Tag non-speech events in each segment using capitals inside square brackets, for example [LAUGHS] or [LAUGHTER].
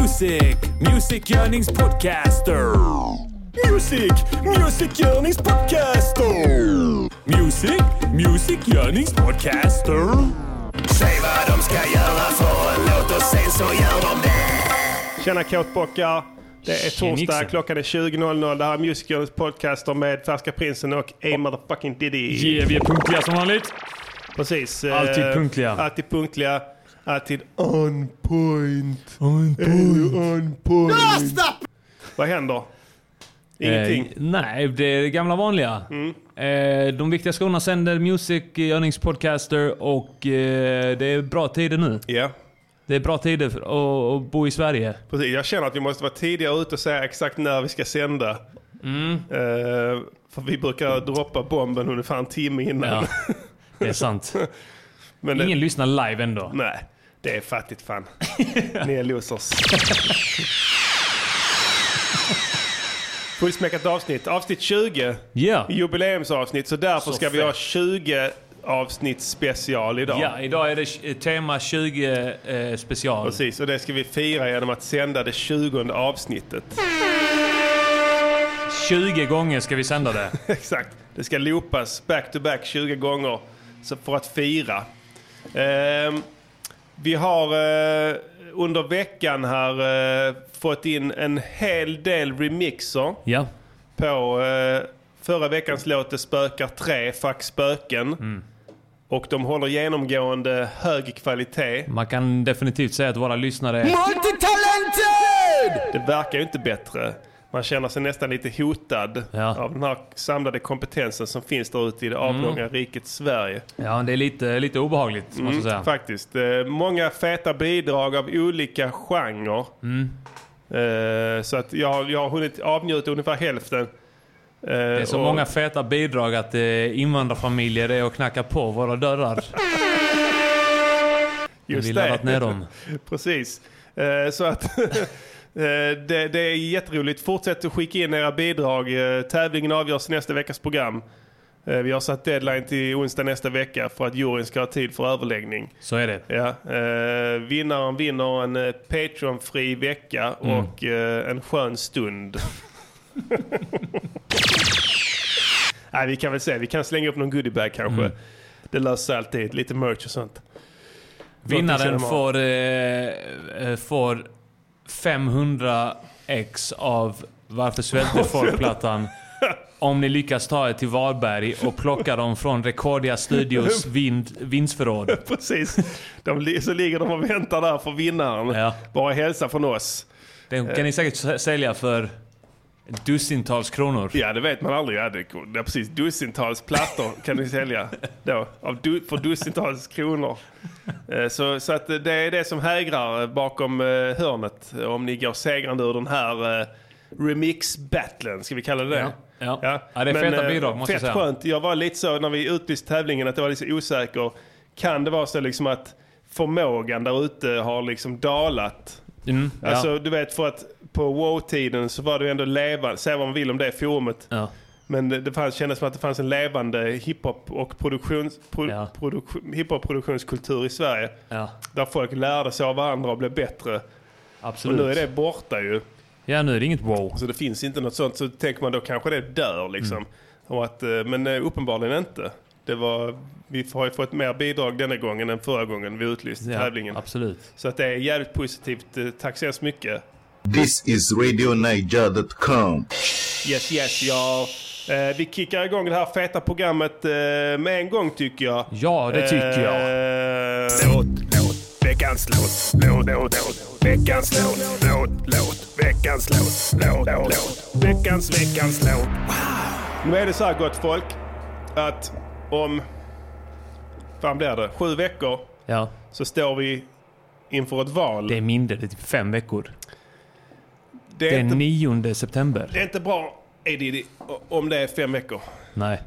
Music, Music Yearnings Podcaster. Music, Music Yearnings Podcaster. Music, Music Yearnings Podcaster. Säg vad de ska göra för en låt och sen så gör de det. Tjena kåtbockar! Det är torsdag, Tjenixen. klockan är 20.00. Det här är Music Journeys podcaster med Färska Prinsen och A Motherfucking Diddy. Yeah, vi är punktliga som vanligt. Precis. Alltid eh, punktliga. Alltid punktliga. Alltid on point. On point. On point. Vad händer? Ingenting. Eh, nej, det är det gamla vanliga. Mm. Eh, de viktiga skorna sänder Music Earnings Podcaster och eh, det är bra tider nu. Ja, Det är bra tider för att att bo i Sverige. precis. Jag känner att vi måste vara tidiga ute och säga exakt när vi ska sända. Mm. Eh, för vi brukar droppa bomben ungefär en timme innan. Ja, [LAUGHS] det [LAUGHS] är sant. Men det- Ingen lyssnar live ändå. Nej, det är [LAUGHS] fattigt fan. Ni är losers. Fullsmäckat avsnitt. Avsnitt 20. Ja, Jubileumsavsnitt. Så därför Så ska vi fett. ha 20 avsnitt special idag. ja idag är det eh, tema 20 eh, special. Precis, och det ska vi fira genom att sända det 20 avsnittet. 20 gånger ska vi sända [LAUGHS] det. Exakt. Det ska loopas back to back 20 gånger så för att fira. Ehm, vi har eh, under veckan här eh, fått in en hel del remixer Ja, på eh, förra veckans låt Det spökar 3, Fuck spöken. Och de håller genomgående hög kvalitet. man kan definitivt säga att våra lyssnare är... Det verkar ju inte bättre. Man känner sig nästan lite hotad Ja. av den här samlade kompetensen som finns där ute i det avlånga riket Sverige. Ja, det är lite, lite obehagligt Mm. måste jag säga. Faktiskt. Eh, många feta bidrag av olika genrer. Mm. Eh, så att jag, har- jag har hunnit avnjuta ungefär hälften. Eh, det Det är så många feta bidrag att eh, invandrarfamiljer är och knackar på våra [LAUGHS] dörrar. just vi det. laddat ner dem. [LAUGHS] Precis. Eh, så att [LAUGHS] eh, det, det är jätteroligt. Fortsätt att skicka in era bidrag. Eh, tävlingen avgörs i nästa veckas program. Eh, vi har satt deadline till onsdag nästa vecka för att juryn ska ha tid för överläggning. Så är det. Ja, eh, vinnaren vinner en eh, Patreon-fri vecka och eh, en skön stund. Nej, vi kan väl se. Vi kan slänga upp någon goodiebag kanske. Det löser sig alltid. Lite merch och sånt. Någonting Vinnaren som de har. får, eh, eh, får 500 x av Varför svälter folk-plattan. Om ni lyckas ta er till Varberg och plocka dem från Recordia Studios vind, vindsförråd. Precis. De, li- så ligger de och väntar där för vinnaren. Ja. Bara hälsa från oss. Den kan ni säkert sä- sälja för dussintals kronor. Ja, det vet man aldrig. Ja, det det är precis dussintals plattor kan ni sälja då, av du, för dussintals kronor. Eh, Så, så att det är det som hägrar eh, bakom eh, hörnet eh, om ni går segrande ur den här eh, remix-battlen, ska vi kalla det Ja, ja. Ja. Ja, det är Men, feta eh, bidrag, måste jag fett säga. skönt. Jag var lite så när vi utlyste tävlingen att jag var lite osäker. Kan det vara så liksom att förmågan där ute har liksom dalat? Mm, ja. Alltså du vet för att på wow-tiden så var det ju ändå levande, säga vad man vill om det forumet. ja. Men det, det fanns, kändes som att det fanns en levande hiphop och produktions, pro, Ja. produk- hiphop-produktionskultur i Sverige. Ja, Där folk lärde sig av varandra och blev bättre. Och absolut. nu är det borta ju. Ja, nu är det inget wow. Så det finns inte något sånt. Så tänker man då kanske det dör liksom. Mm. Och att, eh, men eh, uppenbarligen inte. Det var, vi har ju fått mer bidrag denna gången än förra gången vi utlyste Ja, tävlingen. absolut. Så att det är jävligt positivt. Eh, Tack så hemskt mycket. This is RadioNiger.com. Yes, yes, ja. Eh, vi kickar igång det här feta programmet eh, med en gång tycker jag. Eh, Ja, det tycker jag. jag. Låt, låt, veckans låt, låt, låt, låt. Veckans låt, låt, låt. Veckans låt, låt, låt. Veckans, veckans låt. Nu är det så här gott folk att om, fan blir det, sju veckor Ja. så står vi inför ett val. Det Det, är mindre, det är typ fem veckor. är, Den inte, 9 september. det är inte bra Edidi, om det är fem veckor. Nej.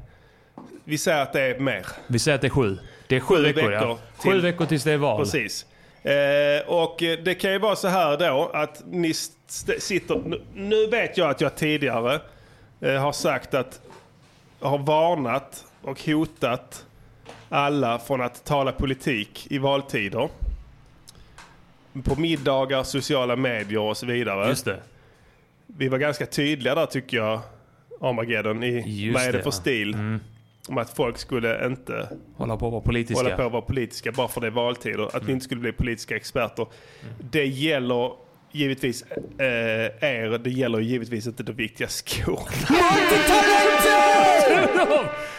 Vi säger att det är mer. Vi säger att det är sju. Det är sju, veckor, veckor ja. till- Sju veckor tills det är val. Precis. Eh, och eh, det kan ju vara så här då att ni st- st- sitter... nu- Nu vet jag att jag tidigare eh, har sagt att... Har varnat och hotat alla från att tala politik i valtider. på middagar, sociala medier och så vidare. Just det. Vi var ganska tydliga där tycker jag, Armageddon, i Just vad är det, det, för ja. Mm. stil. Om att folk skulle inte Hålla på och vara politiska. Mm. hålla på och vara politiska bara för det är valtider. Att vi inte skulle bli politiska experter. Det gäller givetvis eh, er, det gäller givetvis inte de viktiga skorna. [LAUGHS]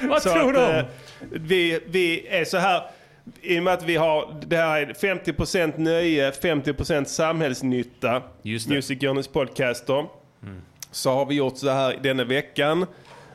Vad Så tror att, de? eh, vi, vi är så här, i och med att vi har, det här är 50% nöje, 50% samhällsnytta, Just det. Mm. Music Journeys podcaster. Så har vi gjort så här denna veckan,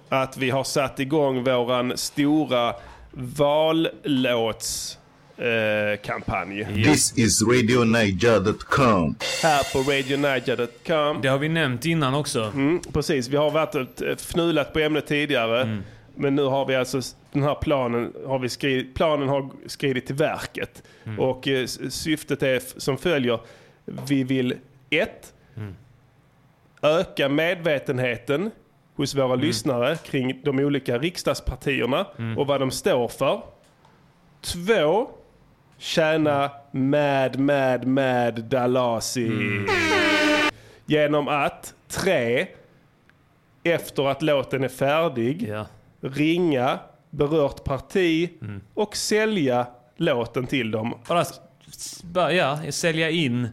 att vi har satt igång våran stora vallåts eh, kampanj This is RadioNiger.com. här på RadioNiger.com. Det har vi nämnt innan också. Mm, precis, vi har varit och eh, fnulat på ämnet tidigare. Men nu har vi alltså s- den här planen har vi skrivit, planen har skridit till verket. Och eh, s- syftet är f- som följer. Vi vill ett, öka medvetenheten hos våra lyssnare kring de olika riksdagspartierna och vad de står för. Två, tjäna mad, mad, mad Dalasi genom att tre, efter att låten är färdig, Ja. ringa berört parti och sälja låten till dem. Bara, s- bara ja, sälja in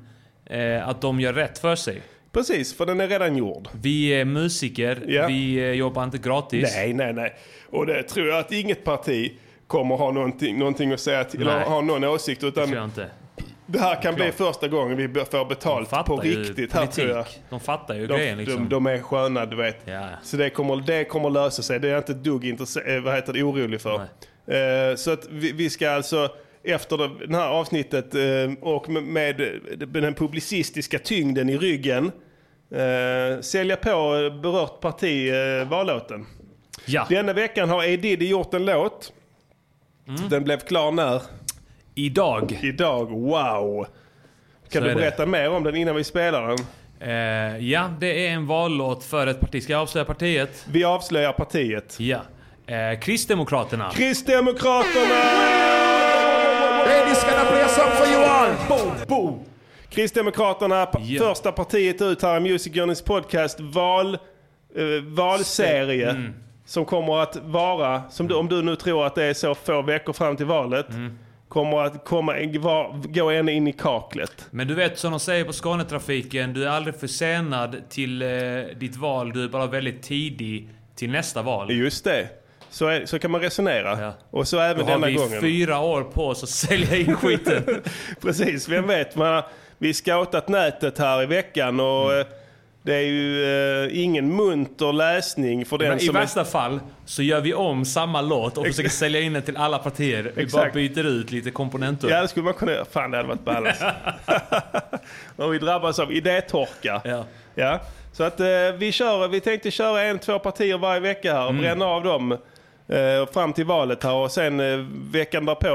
eh, att de gör rätt för sig. Precis, för den är redan gjord. Vi är musiker, Ja. vi eh, jobbar inte gratis. Nej, nej, nej. Och det tror jag att inget parti kommer ha någonting, någonting att säga till, eller Nej. ha någon åsikt. Tror jag Utan inte. det här kan bli första gången vi får betalt på ju riktigt. Här tror jag. politik. De fattar ju De, grejen liksom. de, de är sköna, du vet. Ja. Så det kommer, det kommer lösa sig. Det är jag inte ett dugg intresse- eh, vad heter det, orolig för. Eh, så att vi, vi ska alltså efter det, det här avsnittet eh, och med, med den publicistiska tyngden i ryggen eh, sälja på eh, berört parti eh, vallåten. ja. Ah. Denna veckan har E. Diddy gjort en låt. Mm. Den blev klar när? Idag. Idag. Wow! Kan Så du är det. berätta mer om den innan vi spelar den? Eh, ja, det är en vallåt för ett parti. Ska jag avslöja partiet? Vi avslöjar partiet. Ja. Eh, Kristdemokraterna. Kristdemokraterna! Ladies, can I play a song for you all? Kristdemokraterna, p- Ja. första partiet ut här i Music Journeys podcast, val, eh, valserie. Mm. Som kommer att vara, som du, om du nu tror att det är så få veckor fram till valet, Mm. kommer att komma, en- va- gå ända in i kaklet. Men du vet som de säger på Skånetrafiken, du är aldrig försenad till eh, ditt val. Du är bara väldigt tidig till nästa val. Just det. Så, är, så kan man resonera. Ja. Och så Då även har denna vi gången. fyra år på oss att sälja in [LAUGHS] skiten. Precis, vem vet. Man, har- vi scoutat nätet här i veckan och Mm. eh, det är ju eh, ingen munter läsning för den Men I som är värsta fall så gör vi om samma låt och försöker sälja in den till alla partier. Vi bara Exakt. byter ut lite komponenter. Ja, det skulle man kunna göra. Fan, det hade varit [LAUGHS] ball alltså. Om vi drabbas av idétorka. Ja. Ja. Så att eh, vi kör, vi tänkte köra en, två partier varje vecka här och Mm. bränna av dem eh, fram till valet här och sen eh, veckan därpå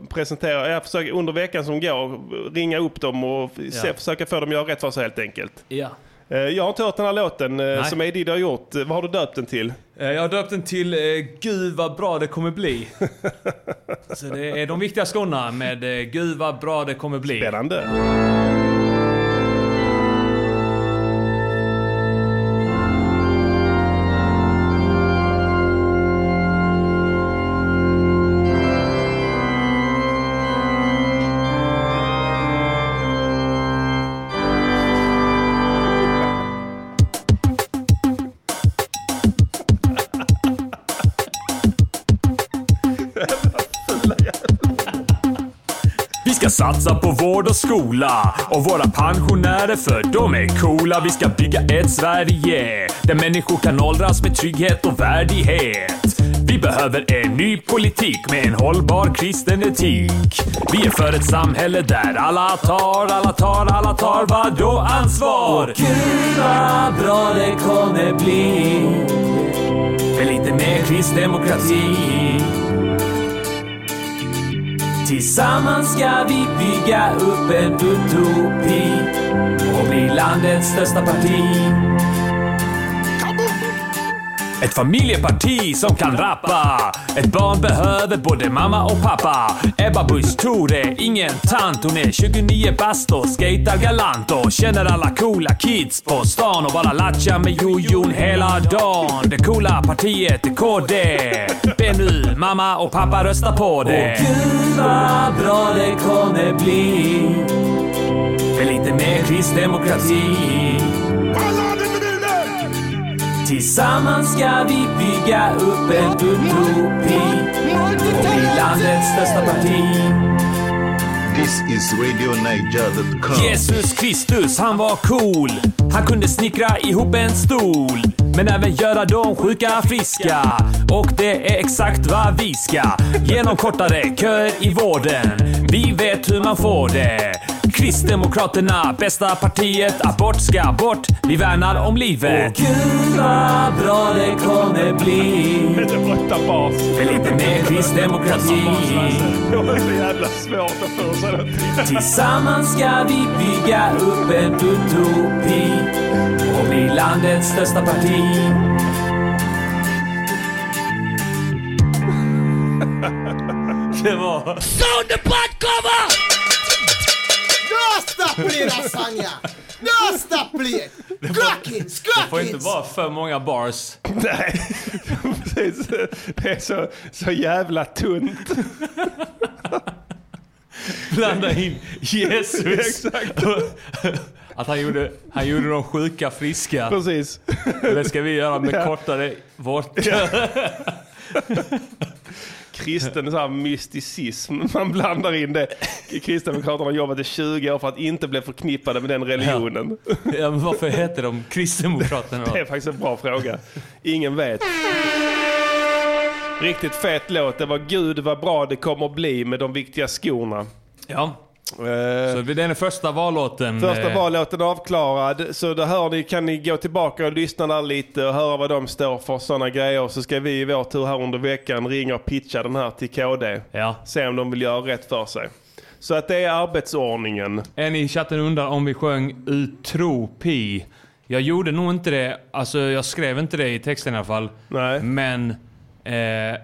eh, presentera, jag försöker under veckan som går ringa upp dem och f- se, Ja. försöka få dem att göra rätt för sig helt enkelt. Ja. Eh, jag har inte hört den här låten eh, som Edid har gjort. Eh, Vad har du döpt den till? Eh, Jag har döpt den till eh, Gud vad bra det kommer bli. så det är de viktiga skorna med eh, Gud vad bra det kommer bli. Spännande. Vi ska satsa på vård och skola och våra pensionärer för de är coola. Vi ska bygga ett Sverige där människor kan åldras med trygghet och värdighet. Vi behöver en ny politik med en hållbar kristen etik. Vi är för ett samhälle där alla tar, alla tar, alla tar vadå ansvar? Gud vad bra det kommer bli. Med lite mer kristdemokrati. Tillsammans ska vi bygga upp en utopi och bli landets största parti. Ett familjeparti som kan rappa. Ett barn behöver både mamma och pappa. Ebba Busch Thore, ingen tant. Hon är 29 bast och skejtar galant och känner alla coola kids på stan och bara latchar med jojon hela dagen. Det coola partiet är KD. Be nu mamma och pappa rösta på det. Åh gud vad bra det kommer bli. Med lite mer kristdemokrati. Tillsammans ska vi bygga upp en utopi och bli landets största parti. This is RadioNiger.com. Jesus Kristus, han var cool. Han kunde snickra ihop en stol. Men även göra de sjuka friska. Och det är exakt vad vi ska. Genom kortare köer i vården. Vi vet hur man får det. Kristdemokraterna, bästa partiet. Abort ska bort. Vi värnar om livet. Åh gud vad bra det kommer bli. Det brötta bas. Med lite mer kristdemokrati. Det var så jävla svårt att förutsäga det. [LAUGHS] Tillsammans ska vi bygga upp en utopi och bli landets största parti. Det var... Dosta plijeda, Sanja! Dosta plijet! Skrakic, Får inte skrakic! vara för många bars. Nej, precis. Det är så, så jävla tunt. Blanda in Jesus. [LAUGHS] Exakt. Att han gjorde, han gjorde de sjuka friska. Precis. Det ska vi göra med Ja. kortare vårt... Kristen så här mysticism. Man blandar in det. Kristdemokraterna har jobbat i 20 år för att inte bli förknippade med den religionen. Ja, men varför heter de Kristdemokraterna Det då? är faktiskt en bra fråga. Ingen vet. Riktigt fet låt. Det var Gud vad bra det kommer bli med de viktiga skorna. Ja. Eh, Så det är den första vallåten. Första eh, vallåten avklarad, så då hör ni, kan ni gå tillbaka och lyssna där lite och höra vad de står för sådana grejer. Så ska vi i vår tur här under veckan ringa och pitcha den här till KD. Ja. Se om de vill göra rätt för sig. Så att det är arbetsordningen. En i chatten undrar om vi sjöng utropi. Jag gjorde nog inte det. Alltså jag skrev inte det i texten i alla fall. Nej. Men eh,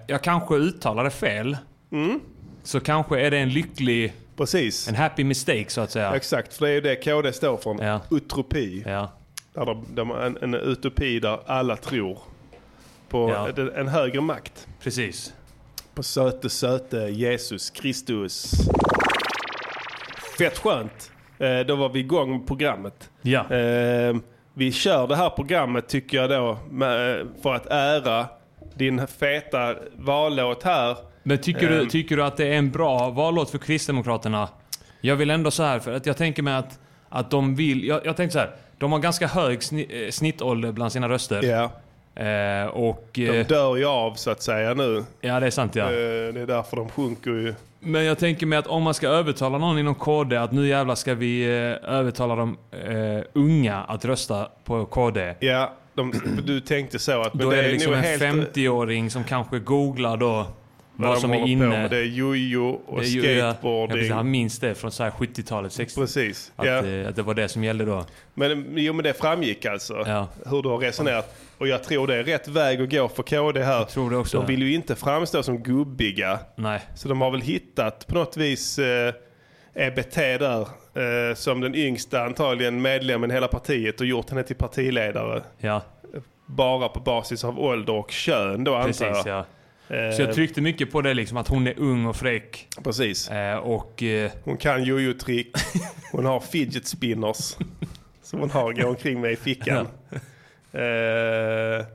jag kanske uttalade fel. Mm. Så kanske är det en lycklig, Precis. en happy mistake så att säga. Exakt, för det är ju det KD står för. Ja. Utropi. Ja. Där de, de, en, en utopi där alla tror på Ja. en, en högre makt. Precis. På söte, söte Jesus Kristus. Fett skönt. Eh, då var vi igång med programmet. Ja. Eh, vi kör det här programmet tycker jag då med, eh, för att ära din feta vallåt här. Men tycker, eh. du, tycker du att det är en bra vallåt för Kristdemokraterna? Jag vill ändå så här, för att jag tänker mig att, att de vill... Jag, jag tänker så här, de har ganska hög sni, eh, snittålder bland sina röster. Ja. Eh, och... De Eh, dör ju av så att säga nu. ja, det är sant ja. Eh, det är därför de sjunker ju. Men jag tänker mig att om man ska övertala någon inom KD att nu jävlar ska vi eh, övertala de eh, unga att rösta på KD. Ja, de, [CLEARS THROAT] du tänkte så att... men Då är det liksom nog en helt- eh, 50-åring som kanske googlar då vad vad de som är håller på inne. med. Det är jojo och Det är ju- ja, ja, skateboarding. precis, han minns det från så här 70-talet, 60 Precis. Att, ja. eh, att det var det som gällde då. Men, jo, men det framgick alltså Ja. hur du har resonerat. Och jag tror det är rätt väg att gå för KD här. Jag tror det också. De vill ju inte framstå som gubbiga. Nej. Så de har väl hittat på något vis eh, EBT där. Eh, som den yngsta antagligen medlemmen i hela partiet och gjort henne till partiledare. Ja, Bara på basis av ålder och kön då precis antar jag. ja. Eh, Så jag tryckte mycket på det liksom att hon är ung och fräck. precis. Eh, och eh, Hon kan jojo-trick. Hon har fidget spinners. Som hon har går omkring med i fickan. Eh,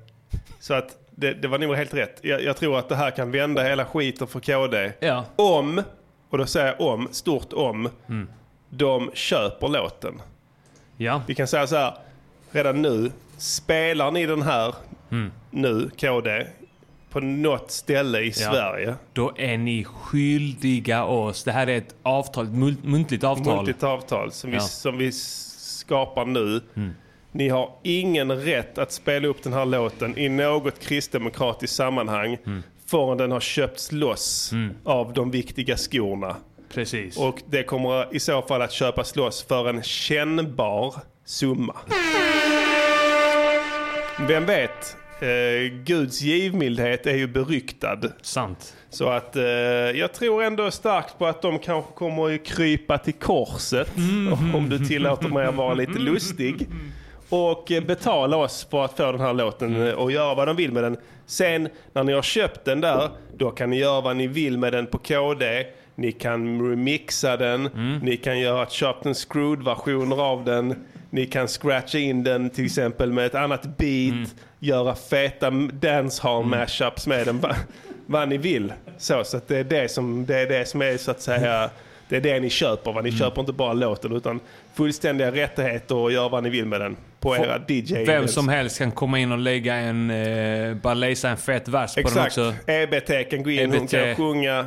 så att det, det var nog helt rätt. Jag, jag tror att det här kan vända hela skiten för KD. ja, Om, och då säger jag om, stort om, de köper låten. Mm. ja, Vi kan säga så här, redan nu, spelar ni den här Mm. nu, KD, på något ställe i Sverige, då är ni skyldiga oss. Det här är ett avtal, ett mul- muntligt avtal. muntligt avtal Ja. som, Mm. vi, som vi skapar nu. Ni har ingen rätt att spela upp den här låten i något kristdemokratiskt sammanhang Mm. förrän den har köpts loss av de viktiga skorna. Precis. Och det kommer i så fall att köpas loss för en kännbar summa. Vem vet? Eh, Guds givmildhet är ju beryktad. Sant. Så att eh, jag tror ändå starkt på att de kanske kommer att krypa till korset. Om du tillåter mig att vara lite lustig. Och eh, betala oss för att få den här låten eh, och göra vad de vill med den. Sen när ni har köpt den där, då kan ni göra vad ni vill med den på KD. Ni kan remixa den, ni kan göra chopped and screwed-versioner av den. Ni kan scratcha in den till exempel med ett annat beat, Mm. göra feta dancehall-mashups med den. Va- vad ni vill. Så, så att det, är det, som, det är det som är så att säga, det är det ni köper. Va? Ni Mm. köper inte bara låten utan fullständiga rättigheter och gör vad ni vill med den. På era DJ Vem som helst kan komma in och lägga en... Eh, bara läsa en fet vers på den Exakt. också. E EBT kan gå in, hon EBT. kan sjunga,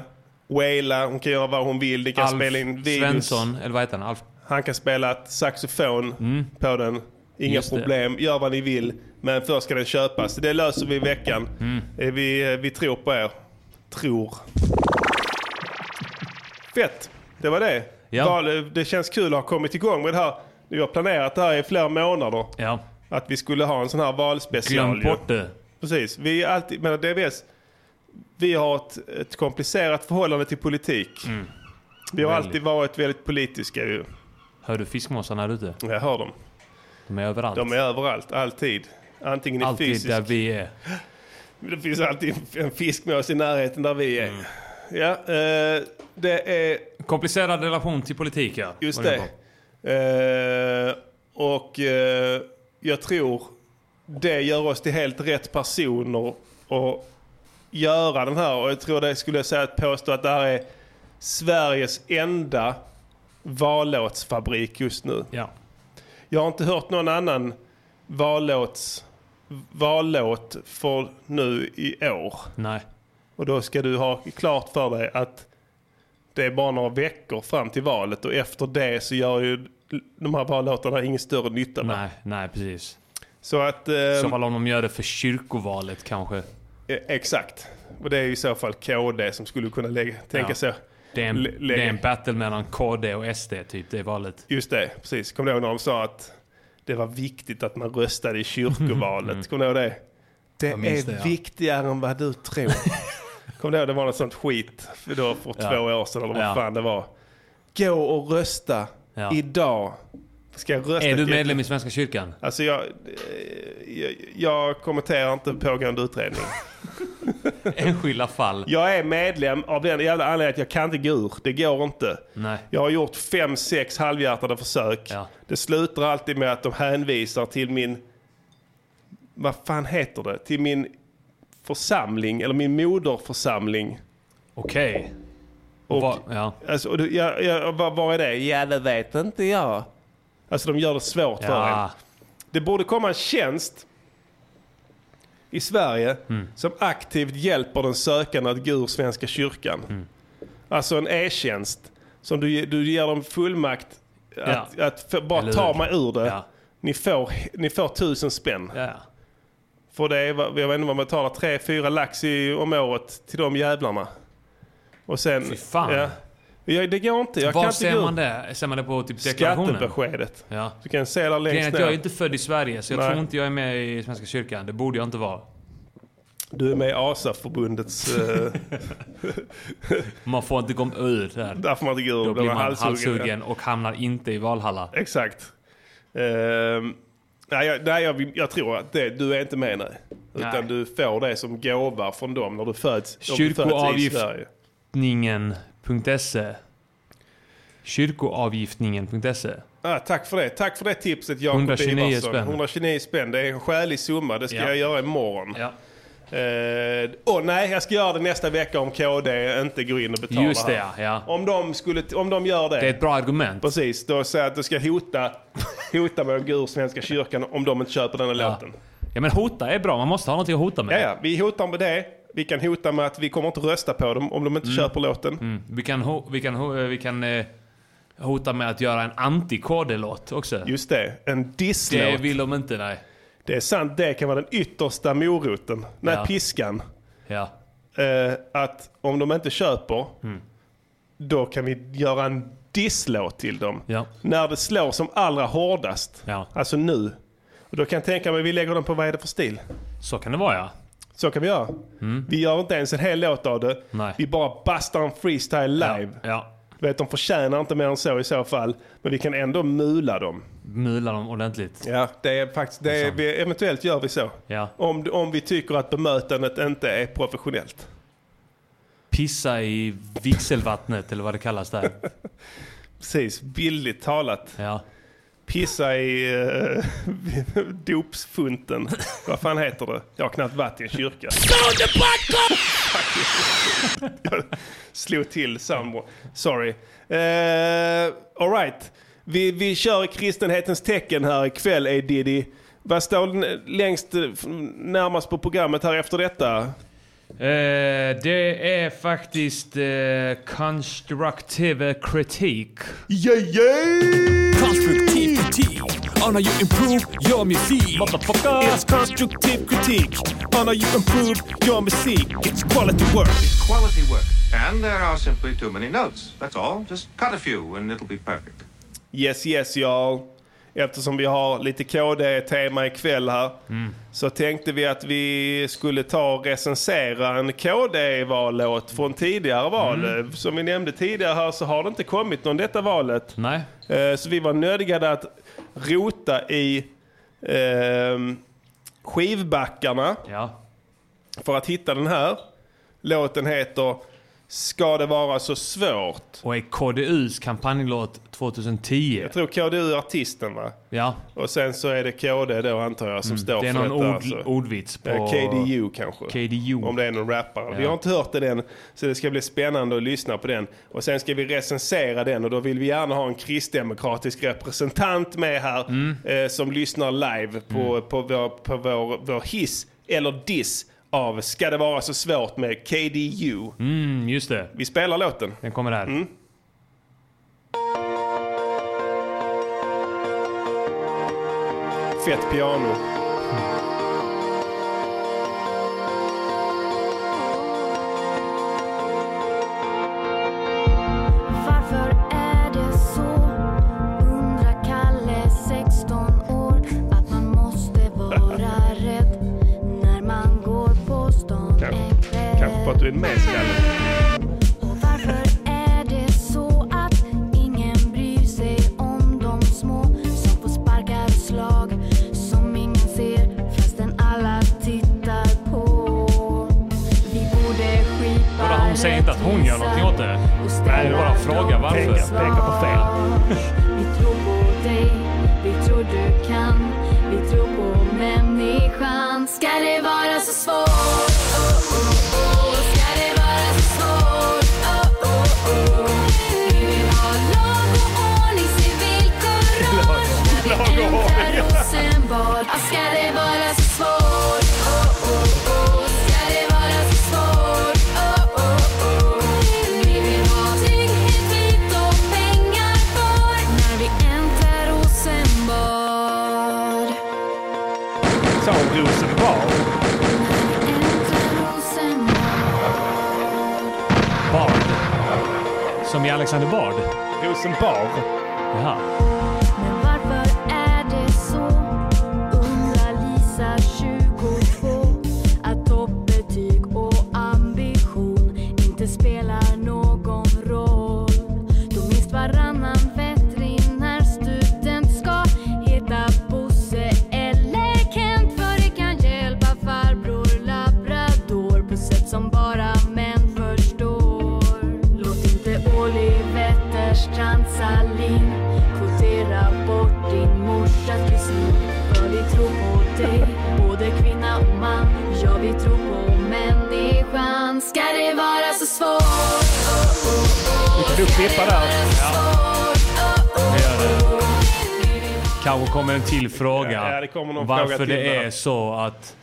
waila, hon kan göra vad hon vill. Det kan Alf spela in videos. Svensson, eller vad heter han? Alf? Mm. Han kan spela ett saxofon på den. Inga Just det. problem, gör vad ni vill. Men först ska den köpas. Det löser vi i veckan. Mm. Eh, Vi, eh, vi tror på er. Tror. Fett, det var det. Ja. Val- eh, Det känns kul att ha kommit igång med det här. Vi har planerat det här i flera månader. Ja. Att vi skulle ha en sån här valspecial. Glöm ju. bort det. Precis. Vi är alltid, men DBS, vi har ett, ett komplicerat förhållande till politik. Vi har Mm. Väldigt. alltid varit väldigt politiska ju. Hör du fiskmåsarna här ute? Jag hör dem. De är överallt. De är överallt, alltid. Antingen i Alltid fysisk... där vi är. Det finns alltid en fiskmås i närheten där vi Mm. är. Ja, eh, det är Komplicerad relation till politik, ja. just Var bra? det. Eh, och eh, jag tror det gör oss till helt rätt personer att göra den här. Och jag tror det skulle jag säga att påstå att det här är Sveriges enda vallåtsfabrik just nu. Ja. Jag har inte hört någon annan vallåts, vallåt för nu i år. Nej. Och då ska du ha klart för dig att det är bara några veckor fram till valet och efter det så gör ju de här vallåtarna ingen större nytta. va? Nej, nej precis. Så att... I så Eh, fall om de gör det för kyrkovalet kanske. e- exakt. Och det är ju i så fall KD som skulle kunna lägga, tänka Ja. sig... Det är, en, Lä- lägg- det är en battle mellan KD och SD, typ, det valet. Just det, precis. Kommer du ihåg när de sa att det var viktigt att man röstade i kyrkovalet? Kommer du ihåg det? Det är minns det, Mm. ja. viktigare än vad du tror. [LAUGHS] Kommer du ihåg det var något sånt skit för, då, för Ja. två år sedan eller vad Ja. fan det var? Gå och rösta Ja. idag. Ska jag rösta? Är du medlem i Svenska kyrkan? Alltså jag, eh, jag, jag kommenterar inte pågående utredning. Enskilda fall? Jag är medlem av den jävla anledningen att jag kan inte gå ur. Det går inte. Nej. Jag har gjort fem, sex halvhjärtade försök. Ja. Det slutar alltid med att de hänvisar till min... Vad fan heter det? Till min församling, eller min moderförsamling. Okej. Och, Va- Ja. alltså, och du, jag, jag, vad, vad är det? Ja, det vet inte jag. Alltså de gör det svårt för en. ja. Det borde komma en tjänst i Sverige Mm. som aktivt hjälper den sökande att gå ur Svenska kyrkan. Mm. Alltså en e-tjänst som du, du ger dem fullmakt att, Ja. att för, bara Eller ta hur? mig ur det. Ja. Ni, får, ni får tusen spänn. ja. För det är, vad- jag vet inte vad man betalar, tre, fyra lax i, om året till de jävlarna. Och sen... Fy fan. Ja, jag, det går inte. Jag kan Var inte ser gå man ur det? Ser man det på typ deklarationen? Skattebeskedet. Ja. Du kan se där Grejen är längst att jag är ner. inte född i Sverige, så jag Nej. tror inte jag är med i Svenska kyrkan. Det borde jag inte vara. Du är med i ASA-förbundets... [LAUGHS] eh, Man får inte komma ur där. Där får man inte gå ur. Då blir man halshuggen och hamnar inte i Valhalla. Exakt. Ehm, nej, jag, nej jag, vill- jag tror att det, du är inte med nej. Utan Nej. du får det som gåva från dem när du föds. om du föds i Kyrkoavgift. Sverige. Kyrkoavgiftningen.se Kyrkoavgiftningen.se Ah, tack för det. Tack för det tipset Jakob 129 Ivarsson. spänn. 129 spänn. Det är en skälig summa. Det ska Ja. jag göra imorgon. Ja. Åh nej, jag ska göra det nästa vecka om KD inte går in och betalar. Just det, här. ja, ja. Om, de skulle, om de gör Det är ett bra argument. Precis, då säger jag att du ska hota, hota med att gå ur Svenska kyrkan om de inte köper den här Ja. låten. ja men hota är bra, man måste ha någonting att hota Ja, med. ja, vi hotar med det. Vi kan hota med att vi kommer inte rösta på dem om de inte köper låten. Mm. Vi kan, ho- vi kan, ho- vi kan eh, hota med att göra en anti-KD-låt också. Just det, en disslåt. det Det, vill de inte, nej. är sant, det kan vara den yttersta moroten. Nej, Ja. piskan. Ja. Mm. Eh, att om de inte köper, då kan vi göra en disslåt till dem. Ja. När det slår som allra hårdast. Ja. Alltså nu. Och då kan jag tänka mig, vi lägger dem på vad är det för stil? Så kan det vara ja. Så kan vi göra. Vi gör inte ens en hel låt av det. Mm. Nej. Vi bara bastar en freestyle live. Ja. Du vet, de förtjänar inte mer än så i så fall. Men vi kan ändå mula dem. Mula dem ordentligt. Ja, det är faktiskt... Det är, vi, eventuellt gör vi så. Ja. Om, om vi tycker att bemötandet inte är professionellt. Pissa i vigselvattnet eller vad det kallas där. Precis, bildligt talat. Ja. Pissa i eh, [LAUGHS] dopsfunten. Vad fan heter det? Jag har knappt varit i en kyrka. jag slog till sambo. Sorry. Uh, Alright. Vi, vi kör i kristenhetens tecken här ikväll, är Diddy. Vad står n- längst, eh, f- närmast på programmet här efter detta? Eh, det är faktiskt eh, constructive kritik. Yeah, yeah! Constructive critique on how you improve your music. It's constructive critique on how you improve your music. It's quality work. quality work. And there are simply too many notes. That's all. Just cut a few and it'll be perfect. Yes, yes, y'all. Eftersom vi har lite KD-tema ikväll här Mm. så tänkte vi att vi skulle ta och recensera en KD-vallåt från Mm. tidigare val. Som vi nämnde tidigare här så har det inte kommit någon detta valet. Nej. Eh, Så vi var nödgade att rota i ehm, skivbackarna Ja. för att hitta den här. Låten heter Ska det vara så svårt? Och är KDUs kampanjlåt 2010. Jag tror KDU är artisten va? Ja. Och sen så är det KD då antar jag som står Mm. Det är för någon detta. ord, alltså. ordvits på... Eh, KDU kanske. KDU. Om det är någon rappare. Vi har inte hört den än, så det ska bli spännande att lyssna på den. Och sen ska vi recensera den och då vill vi gärna ha en kristdemokratisk representant med här Mm. eh, som lyssnar live på, på, vår, på vår, vår hiss eller diss av Ska det vara så svårt med KDU. Mm, just det. Vi spelar låten. Den kommer här. Fett piano. Varför är det så? Undrar Kalle, 16 år, att man måste vara rädd när man går på stan Kanske- en Kanske för att du är kväll. med Skalle. Och varför är det så att ingen bryr sig om de små som får sparkar och slag som ingen ser fastän alla tittar på? Vi borde skipa Vadå, hon säger inte att hon gör någonting åt det? rättvisa och Nej, hon bara frågar varför. Peka, peka på fel. Vi tror på dig, vi tror du kan, vi tror på människan. Ska det vara så svårt? Oh, oh, oh. Ska det vara så svårt? Oh, oh, oh. Vi vill ha lag och ordning, se villkor Lag och ordning. Ändra Rosenbad. Ah, Ska det vara så svårt? Oh, oh, oh. Ska det vara så svårt? Oh, oh, oh. Vi vill ha trygghet, flit och pengar kvar när vi äntrar Rosenbad. Sa hon Rosenbad? Äntrar Rosenbad. Bard. Som i Alexander Bard. Rosenbad? Jaha. Men varför är det så? Undrar Lisa, 22, att toppbetyg och ambition inte spelar någon roll. Då minst varannan veterinärstudent ska heta Bosse eller Kent för det kan hjälpa farbror labrador på sätt som bara män förstår. Låt inte Olivetterstrand Salin kvotera bort din morsas kusin. För vi tror på dig, både kvinna och man. Ja, vi tror på människan. Ska det vara så svårt? Oh, oh, oh. Ska du klippa det där? vara så svårt? Oh, oh, oh. Kanske kommer en till fråga. Ja, ja, det kommer någon varför fråga till det där. är så att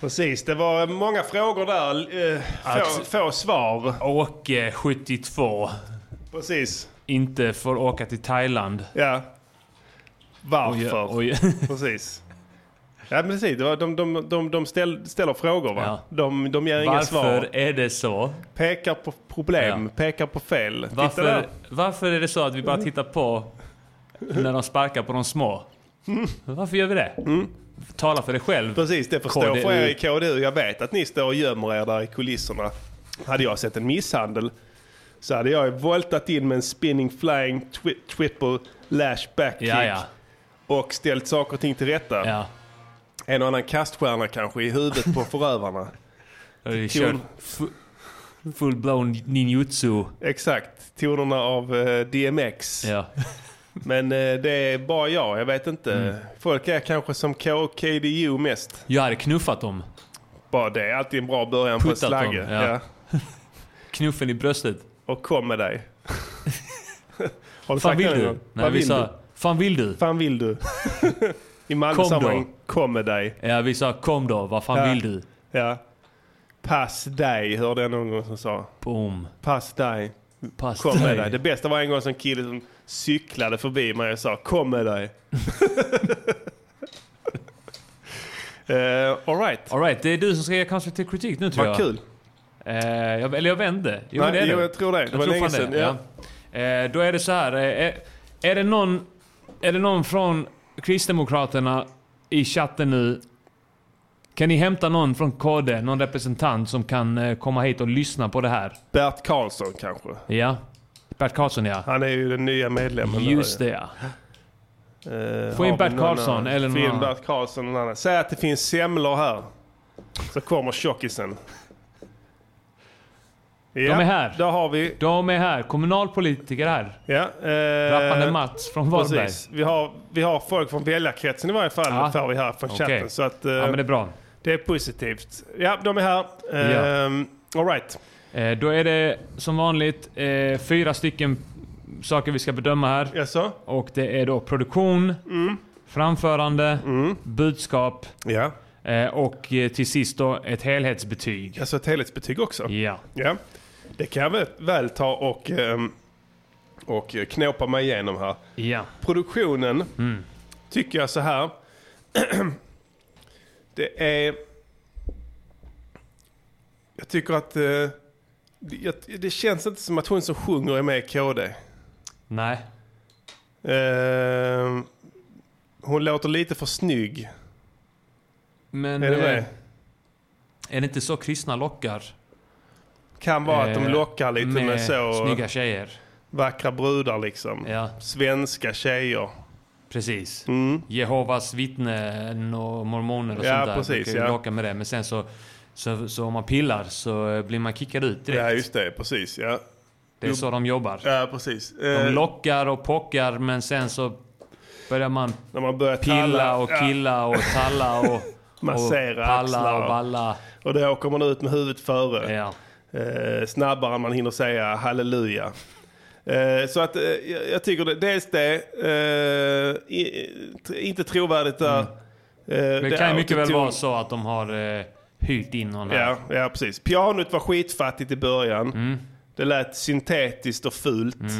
Precis, det var många frågor där. eh, Få, Att- få svar. Åke, 72, Precis. inte får åka till Thailand. Ja. Varför? Och, och, Precis. Ja, men precis. Det var, de de, de, de ställ, ställer frågor, va? Ja. De, de ger inga svar. varför är det så? Pekar på problem, Ja. pekar på fel. Titta där. Varför, varför är det så att vi bara tittar på när de sparkar på de små? Varför gör vi det? Mm. Tala för dig själv. Precis, det får stå KDU. för er i KDU. Jag vet att ni står och gömmer er där i kulisserna. Hade jag sett en misshandel så hade jag voltat in med en spinning flying twi- triple lash backkick Ja, ja. och ställt saker och ting till rätta. ja. En och annan kaststjärna kanske i huvudet på förövarna. Då har vi kört fu- Full-blown ninjutsu. Exakt, tonerna av eh, DMX. Ja. [LAUGHS] Men eh, det är bara jag, jag vet inte. Mm. Folk är kanske som K- KDU mest. Jag hade knuffat dem. Bara det är alltid en bra början på Puttat ett slagge. dem, ja. Knuffen i bröstet. Och kom [LAUGHS] med dig. Har Fan du sagt vill det någon du? gång? Nej, Vad vi vill sa... du? Fan vill du? Fan vill du? I Kom då. Malmö-sammanhang, kom med dig. Ja, vi sa kom då. Vad fan Ja. vill du? Ja. Pass dig, hörde jag någon gång som sa. Boom. Pass dig, Pass kom med dig. Det bästa var en gång som en kille som cyklade förbi mig och sa kom [LAUGHS] med dig. uh, Alright, Alright, det är du som ska ge konstruktiv kritik nu tror vad jag. kul. Eh, jag, eller jag vände. Jo, Nej, det är jo, det. jag tror det. Det var tror länge fan sedan, det, ja. Eh, då är det så här. eh, Är, är, det någon, är det någon från Kristdemokraterna i chatten nu? Kan ni hämta någon från KD, någon representant som kan eh, komma hit och lyssna på det här? Bert Karlsson kanske. Ja. Bert Karlsson ja. Han är ju den nya medlemmen. där. Just det ja. Eh, Få in har Bert vi någon Karlsson annan? eller Få någon in annan. Bert Karlsson eller någon annan. Säg att det finns semlor här. Så kommer tjockisen. Ja, De är här. Där har vi. De är här. Kommunalpolitiker här. Ja, eh, Rappande Mats från Varberg. Precis. Vi har, vi har folk från väljarkretsen i varje fall. Ja. Får vi här från Okej. chatten. Så att, eh, Ja men det det... är bra. är positivt. Ja, de är här. Ja. Ehm, all right. Eh, då är det som vanligt eh, fyra stycken saker vi ska bedöma här. Jaså? Och det är då produktion, Mm. framförande, budskap Ja. eh, och eh, till sist då ett helhetsbetyg. Alltså ett helhetsbetyg också. Ja. Ja, det kan jag väl, väl ta och, ehm, och knåpa mig igenom här. Ja. Produktionen Mm. tycker jag så här. [CLEARS THROAT] det är... Jag tycker att... eh, det- jag- det känns inte som att hon som sjunger är med i KD. Nej. Ehm, hon låter lite för snygg. Men Är det eh, det? är det inte så kristna lockar? Kan vara att de eh, lockar lite med, så snygga tjejer. vackra brudar liksom. Ja, Svenska tjejer. precis. Mm. Jehovas vittnen och mormoner och Ja, sånt där precis, brukar ju ja. locka med det. Men sen så, så, så om man pillar så eh, blir man kickad ut direkt. Ja, just det. Precis. Ja, det är så de jobbar. ja precis. De Eh, lockar och pockar men sen så börjar man när man börjar pilla talla, och ja, killa och talla [LAUGHS] och, och Massera palla axlar. och balla. och då åker man ut med huvudet före. Ja. Eh, snabbare än man hinner säga halleluja. Eh, så att eh, jag- jag tycker det, dels det, eh, i, t- inte trovärdigt där. Eh, Mm. Det kan ju mycket väl autotune- vara så att de har eh, hyrt in någon här. Ja, ja, precis. Pianot var skitfattigt i början. Mm. Det lät syntetiskt och fult. Med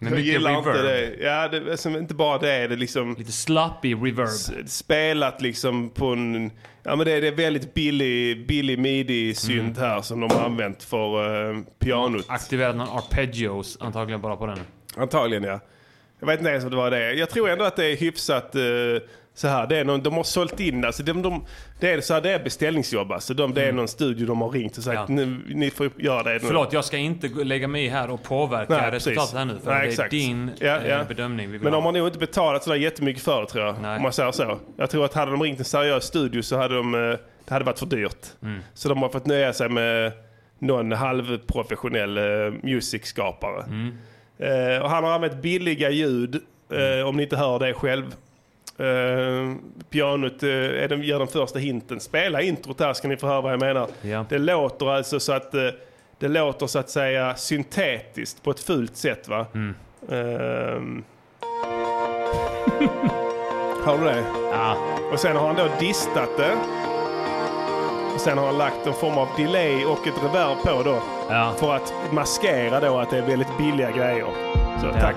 Jag Mm. mycket gillar reverb. inte det. Ja, det, alltså, inte bara det, det är liksom... Lite slappy reverb. s- spelat liksom på en... Ja men det, det är väldigt billig, billig midi-synt Mm. här som de har använt för eh, pianot. Aktiverat någon arpeggios antagligen bara på den. Antagligen ja. Jag vet inte ens om det var det. Jag tror ändå att det är hyfsat eh, så här. Det är någon, de har sålt in, alltså de, de, det, är, så här, det är beställningsjobb. Alltså de, det är någon studio de har ringt och sagt Mm. Ja. nu, ni får göra det. nu." Förlåt, jag ska inte gå- lägga mig i här och påverka Nej, resultatet precis. här nu. För Nej, det är exakt. din Ja, eh, ja. bedömning vi vill Men de ha. har nog inte betalat sådär jättemycket för det tror jag. Nej. Om man säger så. Jag tror att hade de ringt en seriös studio så hade de, eh, det hade varit för dyrt. Mm. Så de har fått nöja sig med någon halvprofessionell eh, musikskapare. Mm. Eh, och han har använt billiga ljud, eh, Mm. om ni inte hör det själv. Eh, pianot eh, är den, gör den första hinten. Spela introt här ska ni få höra vad jag menar. Ja. Det låter alltså så att eh, det låter så att säga syntetiskt på ett fult sätt va. Mm. Ehm. Hör du det? Ja, Och sen har han då distat det. Och sen har han lagt en form av delay och ett reverb på då. ja. För att maskera då att det är väldigt billiga grejer. Mm. Så tack.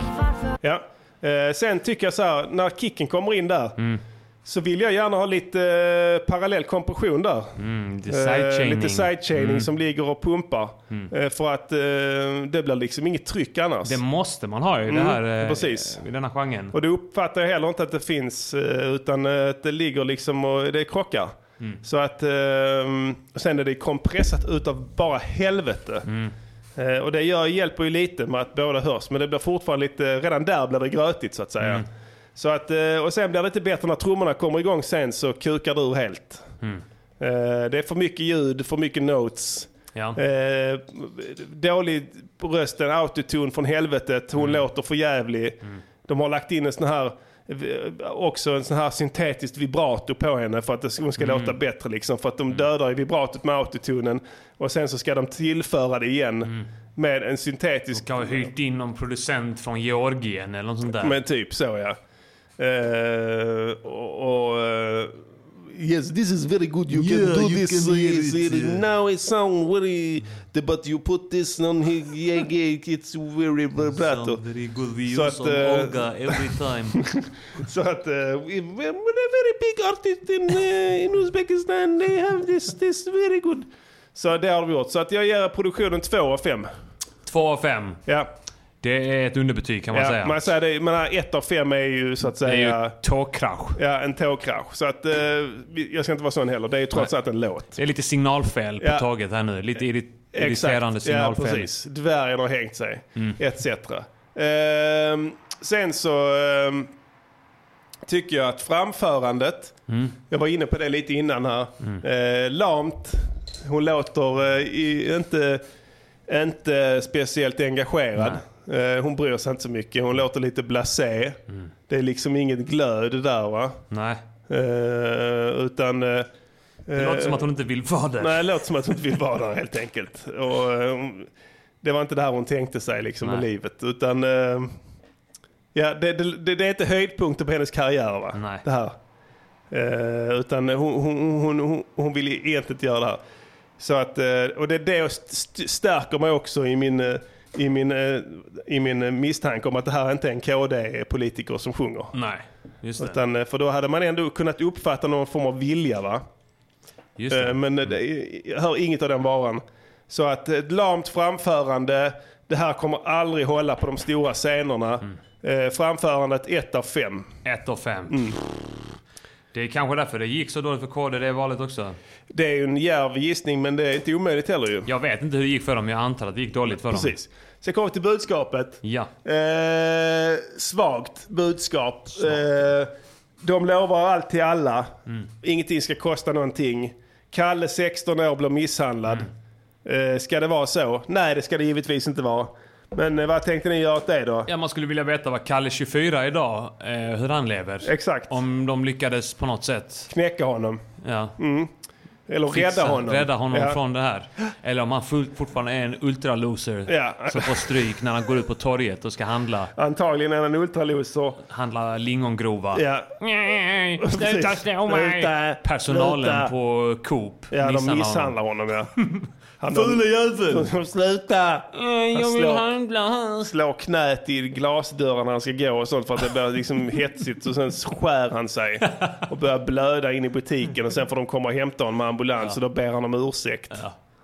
Ja. Eh, sen tycker jag så här, när kicken kommer in där. så vill jag gärna ha lite eh, parallell kompression där. Mm, lite Eh, sidechaining. lite sidechaining Mm. som ligger och pumpar. Eh, för att eh, det blir liksom inget tryck annars. Det måste man ha i, det Mm, här, eh, precis. i denna Mm. genren. Och det uppfattar jag heller inte att det finns, eh, utan eh, att det ligger liksom och det krockar. Så att, eh, och sen är det kompressat utav bara helvete. Eh, Och det gör, hjälper ju lite med att båda hörs, men det blir fortfarande lite, redan där blir det grötigt så att säga. Så att, eh, och sen blir det lite bättre när trummorna kommer igång sen så kukar det ur helt. Eh, Det är för mycket ljud, för mycket notes. Ja. Eh, dålig på rösten, autotune från helvetet, hon låter för jävlig. De har lagt in en sån här eh, också en sån här syntetiskt vibrato på henne för att det- hon ska låta bättre liksom. För att de dödar ju vibratot med autotunen och sen så ska de tillföra det igen med en syntetisk... Kan ha hyrt in någon producent från Georgien eller något sånt där. Men typ så ja. Eh, och, och, eh, yes, this is very good. You Yeah, can do you this. can hear yes, it, yeah. Now it sounds very... the- But you put this on here. Yeah, yeah, it's very vibrato. very good we Så use att, on eh, Olga every time. Så att uh, we, we're a very big artist in, eh, in Uzbekistan. They have this, this very good. Så det har de gjort. Så att jag ger produktionen 2 av 5. Två av fem. Ja, Det är ett underbetyg kan man ja, säga. Man säger det, men 1 av 5 är ju så att det är ju säga... tågkrasch. Ja, en tågkrasch. Så att eh, vi- jag ska inte vara sån heller. Det är ju trots allt en låt. Det är lite signalfel på Ja. taget här nu. Lite irri- irriterande Ja, signalfel. precis. Dvärgen har hängt sig, etc. Ehm, sen så ehm, tycker jag att framförandet, jag var inne på det lite innan här, eh, lamt. Hon låter eh, i, inte, inte speciellt engagerad. Eh, hon bryr sig inte så mycket. Hon låter lite blasé. Det är liksom inget glöd där va. Nej. Eh, utan... eh, Det låter som att hon inte vill vara där. Nej, det låter som att hon inte vill vara där helt enkelt. Och, eh, hon- det var inte det här hon tänkte sig liksom i Nej. livet. Utan, eh, ja, det, det, det, det är inte höjdpunkten på hennes karriär va? Nej. Det här. Eh, utan hon, hon, hon, hon, hon vill egentligen inte göra det här. Så att, eh, och det, det st- stärker mig också i min, eh, i, min, eh, i min eh, misstanke om att det här inte är en KD-politiker som sjunger. Nej. Just det. Utan, eh, för då hade man ändå kunnat uppfatta någon form av vilja va? Just det. Eh, Men eh, det- jag hör inget av den varan. Så att ett lamt framförande, det här kommer aldrig hålla på de stora scenerna. Eh, Framförandet 1 av 5. Ett av fem. Mm. Det är kanske därför det gick så dåligt för KD det valet också. Det är ju en djärv gissning men det är inte omöjligt heller ju. Jag vet inte hur det gick för dem, jag antar att det gick dåligt för dem. Precis. Sen kommer vi till budskapet. Ja. Eh, svagt budskap. Eh, de lovar allt till alla. Mm. Ingenting ska kosta någonting. Kalle 16 år blir misshandlad. Mm. Eh, ska det vara så? Nej, det ska det givetvis inte vara. Men eh, vad tänkte ni göra åt det då? ja, man skulle vilja veta vad Kalle 24 idag, eh, hur han lever. Exakt. Om de lyckades på något sätt. Knäcka honom. Ja. Eller Fixa- rädda honom. Rädda honom ja. från det här. Eller om han full, fortfarande är en ultraloser Ja. som får stryk när han går ut på torget och ska handla, Antagligen är han en ultraloser. handla lingongrova. Ja. Nej, [LAUGHS] Sluta Precis. slå mig! Sluta. Personalen Sluta. på Coop ja, de misshandlar [LAUGHS] honom ja. Fule jävel! [LAUGHS] Sluta! honom. Han slår- Eh, handla här. slår knät i glasdörrar när han ska gå och sånt för att det blir liksom hetsigt. Och sen skär han sig och börjar blöda in i butiken. Och sen får de komma och hämta honom med ambulans och då ber han om ursäkt.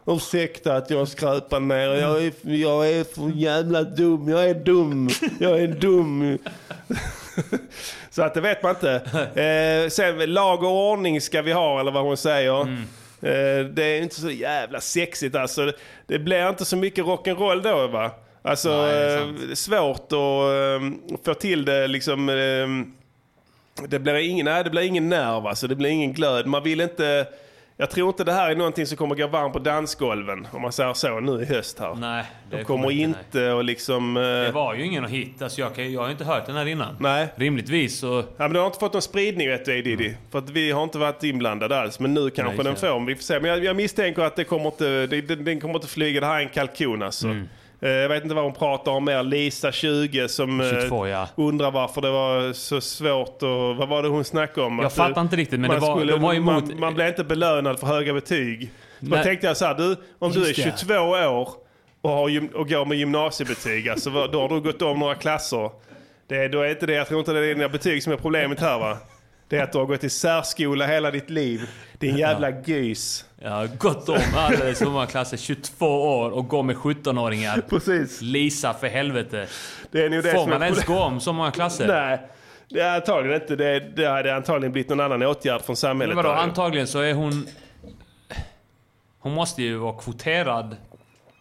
Ursäkta att jag skröpar ner. Jag är, jag är för jävla dum. Jag är dum. Jag är dum. Så att det vet man inte. Eh, sen lag och ordning ska vi ha eller vad hon säger. Eh, det är inte så jävla sexigt alltså. Det, det blir inte så mycket rock'n'roll då va? Alltså eh, det är svårt att eh, få till det liksom. Eh, det blir ingen, nej, det blir ingen nerv alltså. Det blir ingen glöd. Man vill inte. Jag tror inte det här är någonting som kommer gå varmt på dansgolven. Om man säger så nu i höst här. Nej, det De kommer inte och liksom... eh, Det var ju ingen hit. Alltså jag, kan, jag har inte hört den här innan. Nej. Rimligtvis så... Ja, men det har inte fått någon spridning vet du, Diddy. För att vi har inte varit inblandade alls. Men nu kanske Nej, den så. får. Vi får se. Men jag, jag misstänker att det kommer inte, det, den, den kommer inte flyga. Det här är en kalkon alltså. Mm. Eh, Jag vet inte vad hon pratar om mer. Lisa 20 som eh, 22, ja. undrar varför det var så svårt. Och, vad var det hon snackade om? Jag Att, fattar eh, inte riktigt, men man det var- de var emot- Man, man blev inte belönad för höga betyg. Så Nej. man tänkte jag så här, du, om du är Just det. 22 år och, har, gym- och går med gymnasiebetyg, alltså, vad- då har du gått om några klasser. Det, då är inte det, jag tror inte det är dina betyg som är problemet här va? Det är att du har gått i särskola hela ditt liv. Din jävla gys. Jag har gått om alldeles för många klasser. 22 år och går med 17-åringar. Precis. Lisa, för helvete. Det är nog det Får som är man ens problemet. [LAUGHS] gå om så många klasser? Nej, det är antagligen inte. Det, det hade antagligen blivit någon annan åtgärd från samhället. Men vadå, där ju. antagligen så är hon... Hon måste ju vara kvoterad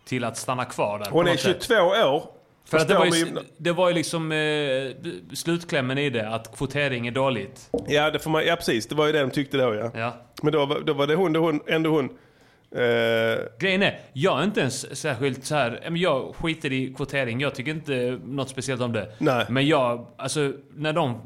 till att stanna kvar där. på Hon är något sätt. 22 år. För att det, Förstår var med ju, gymna- det var ju liksom eh, slutklämmen i det, att kvotering är dåligt. Ja, det får man, ja, precis. Det var ju det de tyckte då ja. Ja. Men då, var- då var det hon, då hon ändå hon. Eh, Grejen är, jag är inte ens särskilt så här, ja, men jag skiter i kvotering, jag tycker inte något speciellt om det. Nej. Men jag, alltså när de...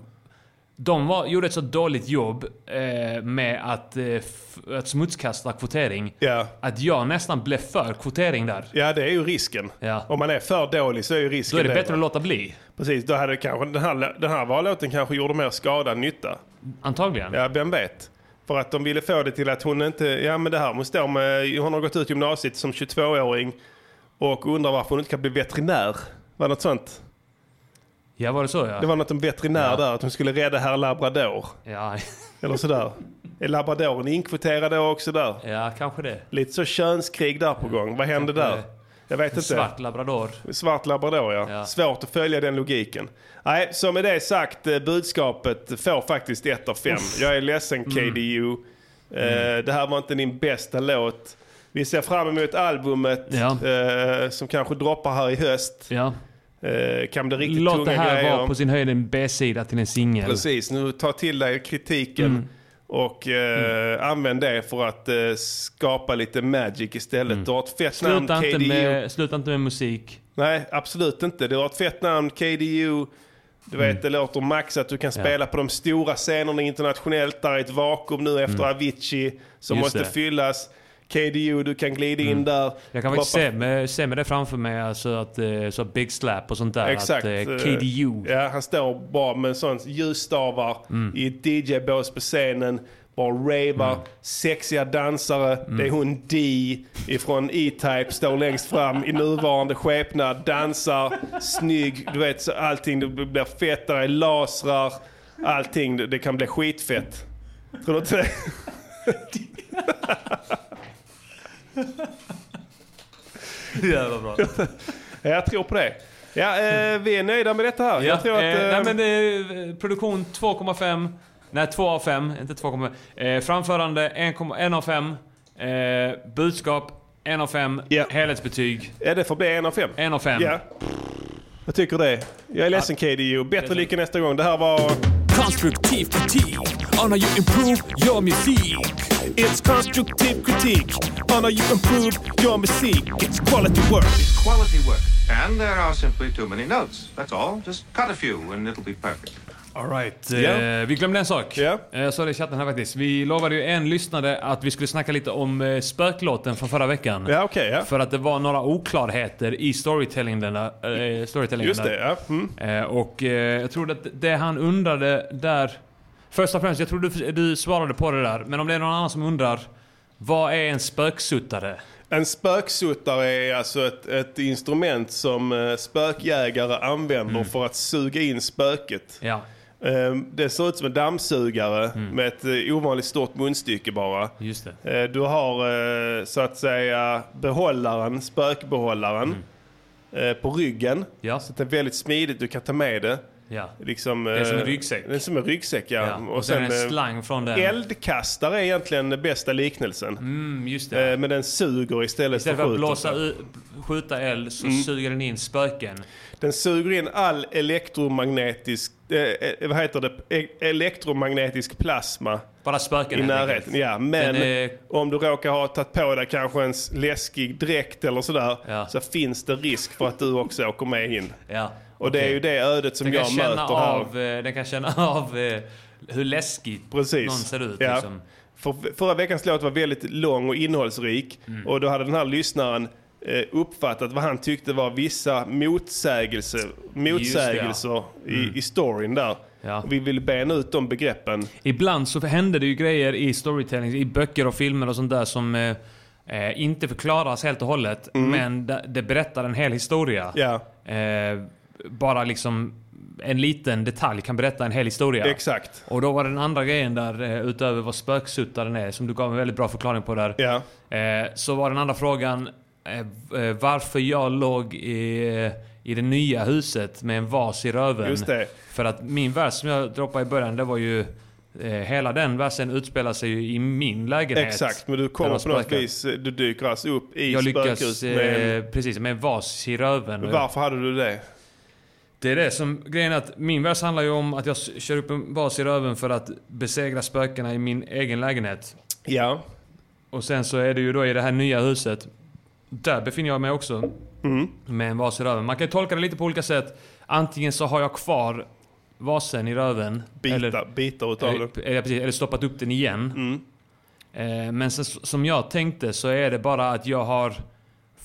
De var, gjorde ett så dåligt jobb eh, med att, eh, f- att smutskasta kvotering. Ja. Att jag nästan blev för kvotering där. ja, det är ju risken. Ja. Om man är för dålig så är ju Då risken är det va? bättre att låta bli. Precis, då hade kanske, den, här, den här valåten kanske gjorde mer skada än nytta. Antagligen. Ja, vem vet? För att de ville få det till att hon inte, ja men det här måste stå med, hon har gått ut gymnasiet som 22-åring och undrar varför hon inte kan bli veterinär. Var det något sånt? Ja, var det så Det ja? var något om veterinär där, att hon skulle rädda herr labrador. Ja, [LAUGHS] Eller sådär. Är labradoren inkvoterad då också där? ja kanske det. Lite så könskrig där på gång. Vad hände där? Jag vet inte. Svart labrador. Svart labrador ja. Ja. Svårt att följa den logiken. Nej, så med det sagt, eh, budskapet får faktiskt 1 av 5. Jag är ledsen Mm. KDU. Eh, Det här var inte din bästa låt. Vi ser fram emot albumet Ja. eh, som kanske droppar här i höst. Ja. Eh, kan bli riktigt Låt tunga det här grejer. vara på sin höjd en B-sida till en singel. Precis, nu ta till dig kritiken Mm. och eh, använd det för att eh, skapa lite magic istället. Du har ett fett Mm. Sluta namn inte, KDU. med, sluta inte med musik. Nej, absolut inte. Du har ett fett namn KDU. Du vet, Mm. det låter max att du kan spela på de stora scenerna internationellt. Där är ett vakuum nu efter Avicii som Mm. Just måste det. Mm. fyllas. KDU, du kan glida in där. Jag kan faktiskt se med, se med det framför mig, alltså att eh, så Big Slap och sånt där. Exakt. Att, eh, [LAUGHS] KDU. Ja, han står bara med en sån ljusstavar Mm. i ett DJ-bås på scenen. Bara ravar, sexiga dansare. Det Mm. är hon Dee ifrån E-Type, står längst fram i nuvarande skepnad. Dansar, snygg, du vet så allting. Det blir fett, där är lasrar. Allting, det- det kan bli skitfett. Tror du inte [LAUGHS] det? Jävla bra. Ja, Jag tror på det. Ja, eh, vi är nöjda med detta här. Ja, Jag tror att... eh, eh, nej, men det är, eh, produktion 2,5. Nej, 2 av 5. Inte 2,5. Eh, framförande 1,1 av 5. Eh, budskap 1 av 5. Ja. Helhetsbetyg ja, det får bli en av fem. 1 av 5. Ja. Jag tycker det. Jag är ledsen KDU. Bättre lycka nästa gång. Det här var... Konstruktiv kritik on how you improve your music. It's constructive critique on how you improve your music. It's quality work. Quality work. And there are simply too many notes. That's all. Just cut a few and it'll be perfect. Alright. Ja. Eh, vi glömde en sak. Ja. Eh, Jag sa det i chatten här faktiskt. Vi lovade ju en lyssnare att vi skulle snacka lite om eh, spöklåten från förra veckan. Ja, okej. ja. För att det var några oklarheter i storytellingen. Äh, storytellingen Just det, ja. Mm. Eh, och eh, jag tror att det han undrade där... Först och främst, jag tror du, du svarade på det där. Men om det är någon annan som undrar. Vad är en spöksuttare? En spöksuttare är alltså ett, ett instrument som eh, spökjägare använder för att suga in spöket. Mm. Ja, Mm. Eh, Det ser ut som en dammsugare med ett eh, ovanligt stort munstycke bara. just det. Eh, Du har eh, så att säga behållaren, spökbehållaren eh, på ryggen. Mm. Ja. Så att det är väldigt smidigt, du kan ta med det. Ja. Liksom, är som en eh, ryggsäck. Det är som en ryggsäck ja. Ja. Och, sen, en eh, slang från den. Eldkastare är egentligen den bästa liknelsen. Mm, just det. Eh, Men den suger istället, Istället för att skjuter. blåsa ut, skjuta eld så Mm. suger den in spöken. Den suger in all elektromagnetisk, eh, eh, vad heter det, E- elektromagnetisk plasma Bara spöken i helt närheten. enkelt. Ja, men Den är- om du råkar ha tagit på dig kanske en s- läskig dräkt eller sådär Ja. så finns det risk för att du också åker med in. Ja. Och det är ju det ödet som Den kan, jag möter känna här. av, eh, den kan känna [LAUGHS] av eh, hur läskigt Precis. någon ser ut. Ja. Liksom. För, förra veckans låt var väldigt lång och innehållsrik. Mm. Och då hade den här lyssnaren eh, uppfattat vad han tyckte var vissa motsägelser, motsägelser i, i storyn där. Mm. Ja. Och vi vill bena ut de begreppen. Ibland så händer det ju grejer i storytelling, i böcker och filmer och sånt där som eh, eh, inte förklaras helt och hållet. Men det, det berättar en hel historia. Mm. Ja. Eh, bara liksom en liten detalj kan berätta en hel historia. Exakt. Och då var den andra grejen där, eh, utöver vad spöksuttaren är, som du gav en väldigt bra förklaring på där. Ja. Eh, så var den andra frågan eh, v- eh, varför jag låg i, eh, i det nya huset med en vas i röven. Just det. För att min vers som jag droppade i början, det var ju... Eh, hela den versen utspelar sig ju i min lägenhet. Exakt, men du Där kommer de på något spökar. vis, du dyker alltså upp i Jag lyckas... spökhus med Eh, precis, med en vas i röven. Och- Varför hade du det? Det är det som... Grejen är att min vers handlar ju om att jag s- kör upp en vas i röven för att besegra spökena i min egen lägenhet. Ja. Och sen så är det ju då i det här nya huset. Där befinner jag mig också. Mm. Med en vas i röven. Man kan ju tolka det lite på olika sätt. Antingen så har jag kvar vasen i röven. Bitar, eller, bitar utav eller, det. eller, precis, eller stoppat upp den igen. Mm. Eh, men sen, s- som jag tänkte så är det bara att jag har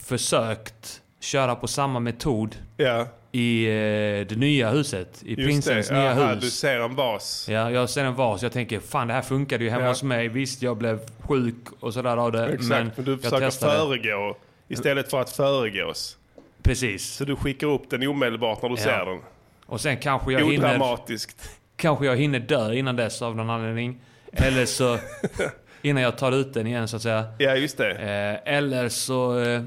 försökt köra på samma metod Ja. i eh, det nya huset. I prinsens det. nya Aha, Du hus. ser en vas. Ja, jag ser en vas. Jag tänker fan det här funkade ju hemma Ja. hos mig. Visst jag blev sjuk och sådär av det. Exakt, men men, du jag försöker testade. föregå istället för att föregås. Precis. Så du skickar upp den omedelbart när du Ja. ser den. Och sen kanske jag, hinner, Odramatiskt. kanske jag hinner dö innan dess av någon anledning. Eller [LAUGHS] så... innan jag tar ut den igen så att säga. Ja, just det. Eh, eller så... Eh,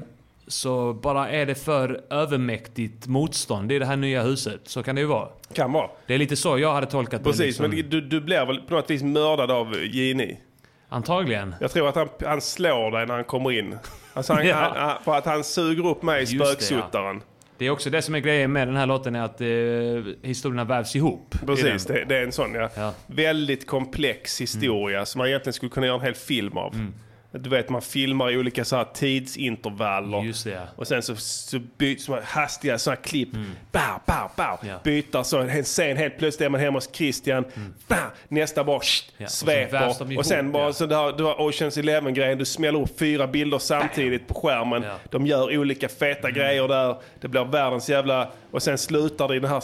så bara är det för övermäktigt motstånd i det här nya huset. Så kan det ju vara. Kan vara. Det är lite så jag hade tolkat det. Precis, liksom. men du, du blir väl på något vis mördad av Gini. Antagligen. Jag tror att han, han slår dig när han kommer in. Alltså [LAUGHS] han, Ja. han, han, för att han suger upp mig, Just det, ja. spöksuttaren. Det är också det som är grejen med den här låten är att eh, historierna vävs ihop. i Precis, den. det, det är en sån ja. Ja. Mm. Väldigt komplex historia som man egentligen skulle kunna göra en hel film av. Du vet, man filmar i olika så här tidsintervaller. Just det, ja. Mm. Och sen så, så byts man hastiga sådana klipp. Bow, bow, bow. Ja. Mm. Byter så en scen helt plötsligt är man hemma hos Christian. Bah, nästa bara sht, Ja, och så vävs de sveper. ihop, Och sen bara ja. så där, du har Oceans Eleven-grejen. Du smäller upp fyra bilder samtidigt på skärmen. Ja. Mm. De gör olika feta grejer där. Det blir världens jävla... Och sen slutar det i den här,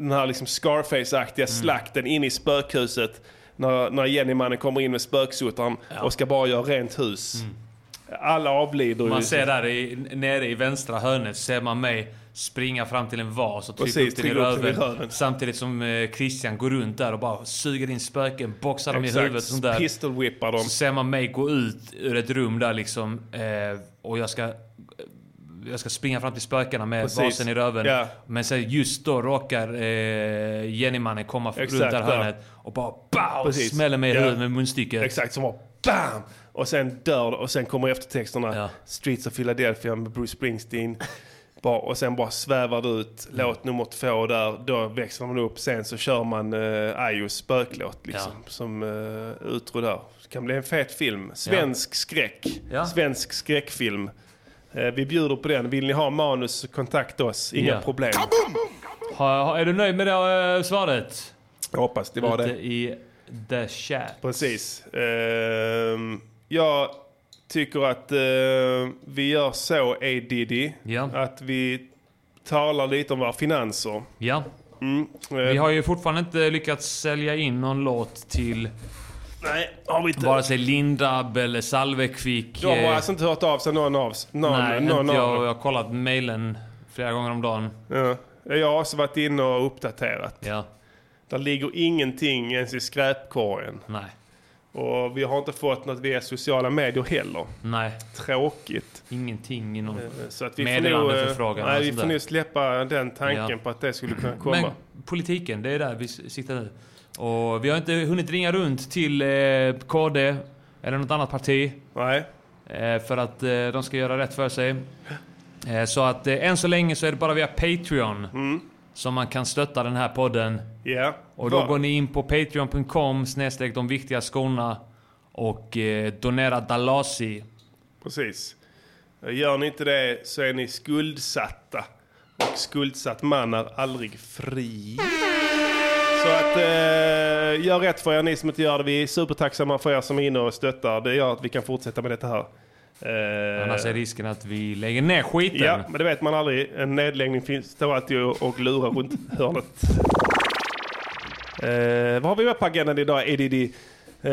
den här liksom Scarface-aktiga Mm. slakten in i spökhuset. När, när Jennymannen kommer in med spöksuttaren och ska bara göra rent hus. Alla avlider ju. Mm. Man ser där i, nere i vänstra hörnet ser man mig springa fram till en vas och trycka Precis, upp den i trycka upp den i röven. röven. Samtidigt som eh, Christian går runt där och bara suger in spöken, boxar dem i Exakt. huvudet och sånt där. Pistol-whippar dem. Så ser man mig gå ut ur ett rum där liksom eh, och jag ska jag ska springa fram till spökena med Precis. vasen i röven. Ja. Men sen just då råkar eh, Jennymannen komma runt Exakt, där ja. hörnet och bara BAU! Precis. Smäller mig i Ja. huvudet med munstycket. Exakt, som var BAM! Och sen dör det, och sen kommer eftertexterna. Ja. Streets of Philadelphia med Bruce Springsteen. Bara, och sen bara svävar det ut Mm. låt nummer två där. Då växlar man upp. Sen så kör man eh, Ayos spöklåt liksom, som eh, utro där. Det kan bli en fet film. Svensk skräck. Ja. Svensk skräckfilm. Eh, vi bjuder på den. Vill ni ha manus så kontakta oss. Inga Ja. problem. Ha, ha, är du nöjd med det eh, svaret? Jag hoppas det var Ute det. i the chat. Precis. Ehm, jag tycker att eh, vi gör så, A. Diddy, Ja. att vi talar lite om våra finanser. Ja. Eh, Vi har ju fortfarande inte lyckats sälja in någon låt till Nej, har vi inte. vare sig Lindab eller Salvekvik. De har eh, alltså inte hört av sig någon av någon, Nej, någon inte jag. av Jag har kollat mailen flera gånger om dagen. dem. Ja. Jag har också varit inne och uppdaterat. Ja, Där ligger ingenting ens i skräpkorgen. nej, Och vi har inte fått något via sociala medier heller. nej. Tråkigt. Ingenting inom... Så att vi Meddelande, får nog, eh, förfrågan och Nej, vi sånt får där. nog släppa den tanken Ja. på att det skulle kunna komma. Men politiken, det är där vi s- sitter nu. Och vi har inte hunnit ringa runt till eh, KD eller något annat parti Nej. eh, för att eh, de ska göra rätt för sig. Eh, så att eh, än så länge så är det bara via Patreon Mm. som man kan stötta den här podden. Ja. Och då Va? går ni in på patreon.com snedstreck de viktiga skorna och eh, donera Eh. Dalasi. Precis. Eh, Gör ni inte det så är ni skuldsatta. Och skuldsatt man är aldrig fri. Så att eh, gör rätt för er ni som inte gör det. Vi är supertacksamma för er som är inne och stöttar. Det gör att vi kan fortsätta med detta här. Eh, Annars är risken att vi lägger ner skiten. Ja, men det vet man aldrig. En nedläggning finns, står alltid och och lurar runt hörnet. Eh, vad har vi med på agendan idag, Edidi? Eh,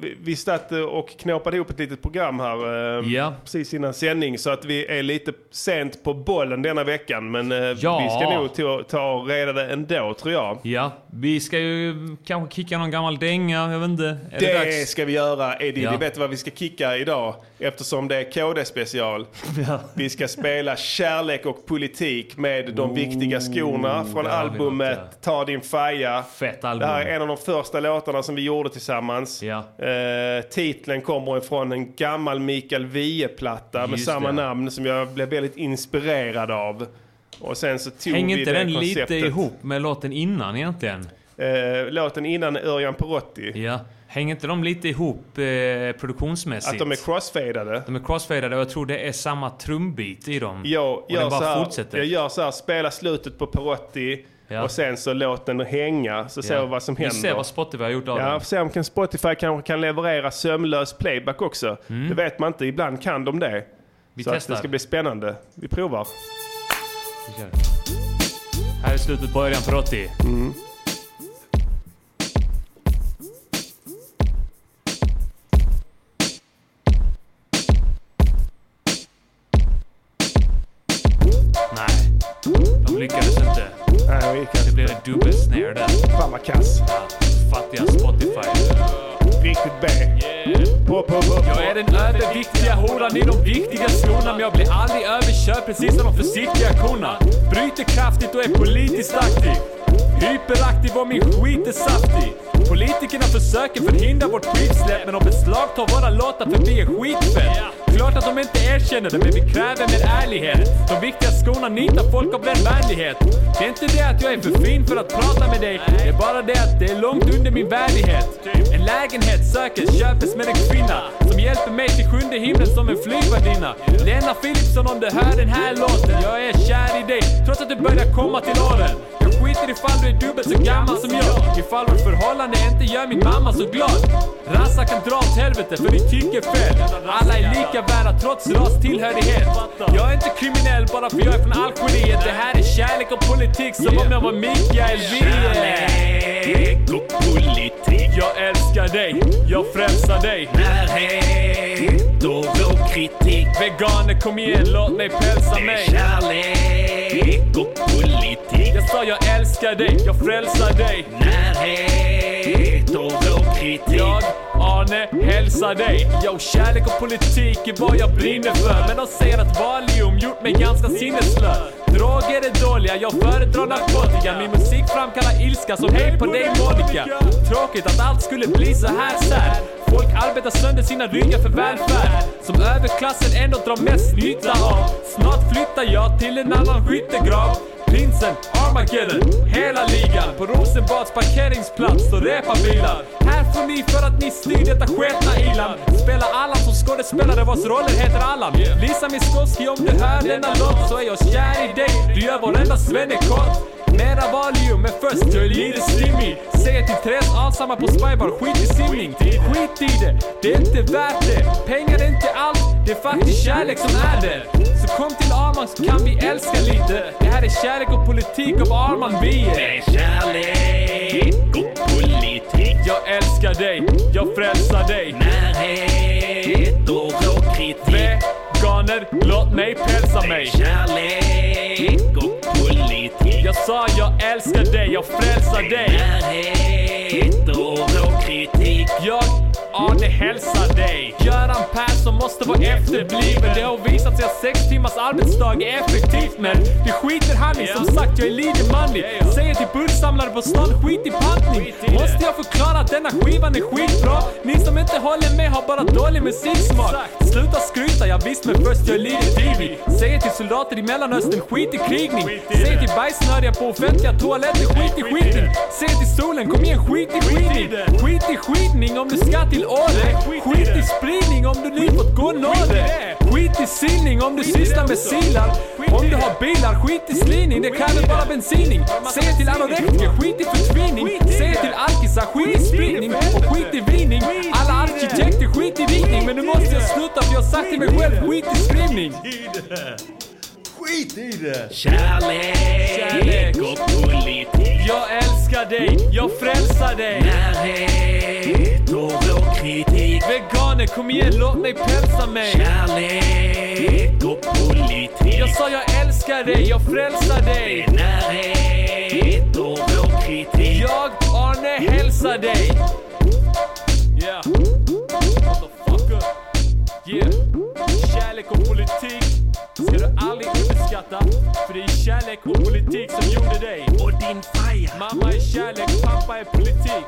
vi- vi satt eh, och knåpade ihop ett litet program här eh, Ja. precis innan sändning så att vi är lite sent på bollen denna veckan. Men eh, Ja. vi ska nog ta, ta reda det ändå tror jag. Ja, vi ska ju kanske kicka någon gammal dänga, jag vet inte. Är det, Det, dags? ska vi göra. Eddie, Ja. ja. vet du vad vi ska kicka idag? Eftersom det är [LAUGHS] KD-special. Vi ska spela Kärlek och politik med De viktiga skorna från där har vi albumet något, Ta din faja. Fett Det album. här är en av de första låtarna som vi gjorde tillsammans. Ja. Eh, titeln kommer ifrån en gammal Mikael Wiehe-platta med Just samma det. namn som jag blev väldigt inspirerad av. Och sen så tog Hänger vi inte det den konceptet. lite ihop med låten innan egentligen? Eh, låten innan Örjan Perotti. Ja. Hänger inte de lite ihop eh, produktionsmässigt? Att de är crossfadade. De är crossfadade och jag tror det är samma trumbit i dem. Jag och gör, den så bara här, fortsätter. jag gör så här, spela slutet på Perotti Ja. och sen så låt den hänga så ser vi vad som händer. Vi ser vad Spotify har gjort av Ja, den. får se om kan Spotify kanske kan leverera sömlös playback också. Det vet man inte, ibland kan de det. Mm. Vi så att testar. det ska bli spännande. Vi provar. Vi kör. Här är slutet på Örjan Perotti. Mm. Nej, de lyckades inte. Nej, vi Det kan... blev en dubbelsnare där. Fan vad kass. Fattiga Spotify. Riktigt B. Pop, pop, pop. Jag är den överviktiga horan i de viktiga skorna Men jag blir aldrig överkörd precis som de försiktiga korna Bryter kraftigt och är politiskt aktiv Hyperaktiv och min skit är saftig Politikerna försöker förhindra vårt skivsläpp Men de beslagtar våra låtar för vi är skitfett Klart att de inte erkänner det men vi kräver mer ärlighet De viktiga skorna nitar folk av den vänlighet Det är inte det att jag är för fin för att prata med dig Det är bara det att det är långt under min värdighet En lägenhet sökes, köpes med en kvinna Som hjälper mig till sjunde himlen som en flygvärdinna Lena Philipsson om du hör den här låten Jag är kär i dig trots att du börjar komma till åren Jag skiter ifall du är dubbelt så gammal som jag Ifall vårt förhållande inte gör min mamma så glad Rassar kan dra åt helvete för ni tycker fel Alla är lika värda trots rastillhörighet Jag är inte kriminell bara för jag är från Algeriet Det här är kärlek och politik som om jag var Mikael Wiehe och politik, jag älskar dig, jag frälsar dig närhet och vår kritik. Veganer kom igen, låt mig pälsa mig Kärlek och politik, Jag sa jag älskar dig, jag frälsar dig närhet och vår kritik. Jag, Arne, hälsar dig Yo, kärlek och politik är vad jag brinner för Men de säger att Valium gjort mig ganska sinneslö Droger är dåliga, jag föredrar narkotika Min musik framkallar ilska som Hej på dig Monica Tråkigt att allt skulle bli så här sär Folk arbetar sönder sina ryggar för välfärd Som överklassen ändå drar mest nytta av Snart flyttar jag till en annan skyttegrav Prinsen, Armageddon, hela ligan På Rosenbads parkeringsplats står reparbilar Här får ni för att ni styr detta sketna iland Spelar Allan som skådespelare vars roller heter Allan Lisa Miskovsky om du hör denna låt så är jag kär i dig Du gör varenda svennekott Mera valium, men först jag är lite stimmig Säger till Therese avsamma på spybar, skit i simning Skit i det, det är inte värt det Pengar är inte allt, det är faktiskt kärlek som är det så kom till Arman så kan vi älska lite Det här är kärlek och politik av Arman Wiehe Kärlek och politik, Jag älskar dig, jag frälsar dig närhet och vår kritik. Veganer, låt mig pälsa mig Kärlek och politik, Jag sa jag älskar dig, jag frälsar dig närhet och vår kritik. Jag, Arne, hälsar dig Göran Persson måste vara efterbliven Det har visat sig att sex timmars arbetsdag är effektivt Men det skiter han i, som sagt jag är lite manlig Säger till bullsamlare på stan, skit i pantning Måste jag förklara att denna skivan är skitbra? Ni som inte håller med har bara dålig musiksmak Sluta skryta, jag visst men först jag är lite divig Säger till soldater i Mellanöstern, skit i krigning Säger till bajsnödiga på offentliga toaletter, skit i skitning Säger till solen, kom igen skit i skitning Skit i skitning om du ska till Åre Skit i spridning om du nyss fått gå nåde Skit i sinning om du sysslar med silar Om du har bilar, skit i slining, det kräver bara bensining Säger till anorektiker, skit i förtvining Säger till alkisar, skit i spridning och skit i vining Alla arkitekter, skit i vining Men nu måste jag sluta för jag har sagt till mig själv, skit i skrivning Kärlek och politik, Jag älskar dig, jag frälsar dig närhet och Janne kom igen, låt mig pälsa mig. Kärlek och politik. Jag sa jag älskar dig, jag frälsar dig. Det är närhet och vår kritik. Jag, Arne, hälsar dig. Yeah. Motherfucker. Yeah. Kärlek och politik ska du aldrig underskatta. För det är kärlek och politik som gjorde dig. Och din faja. Mamma är kärlek, pappa är politik.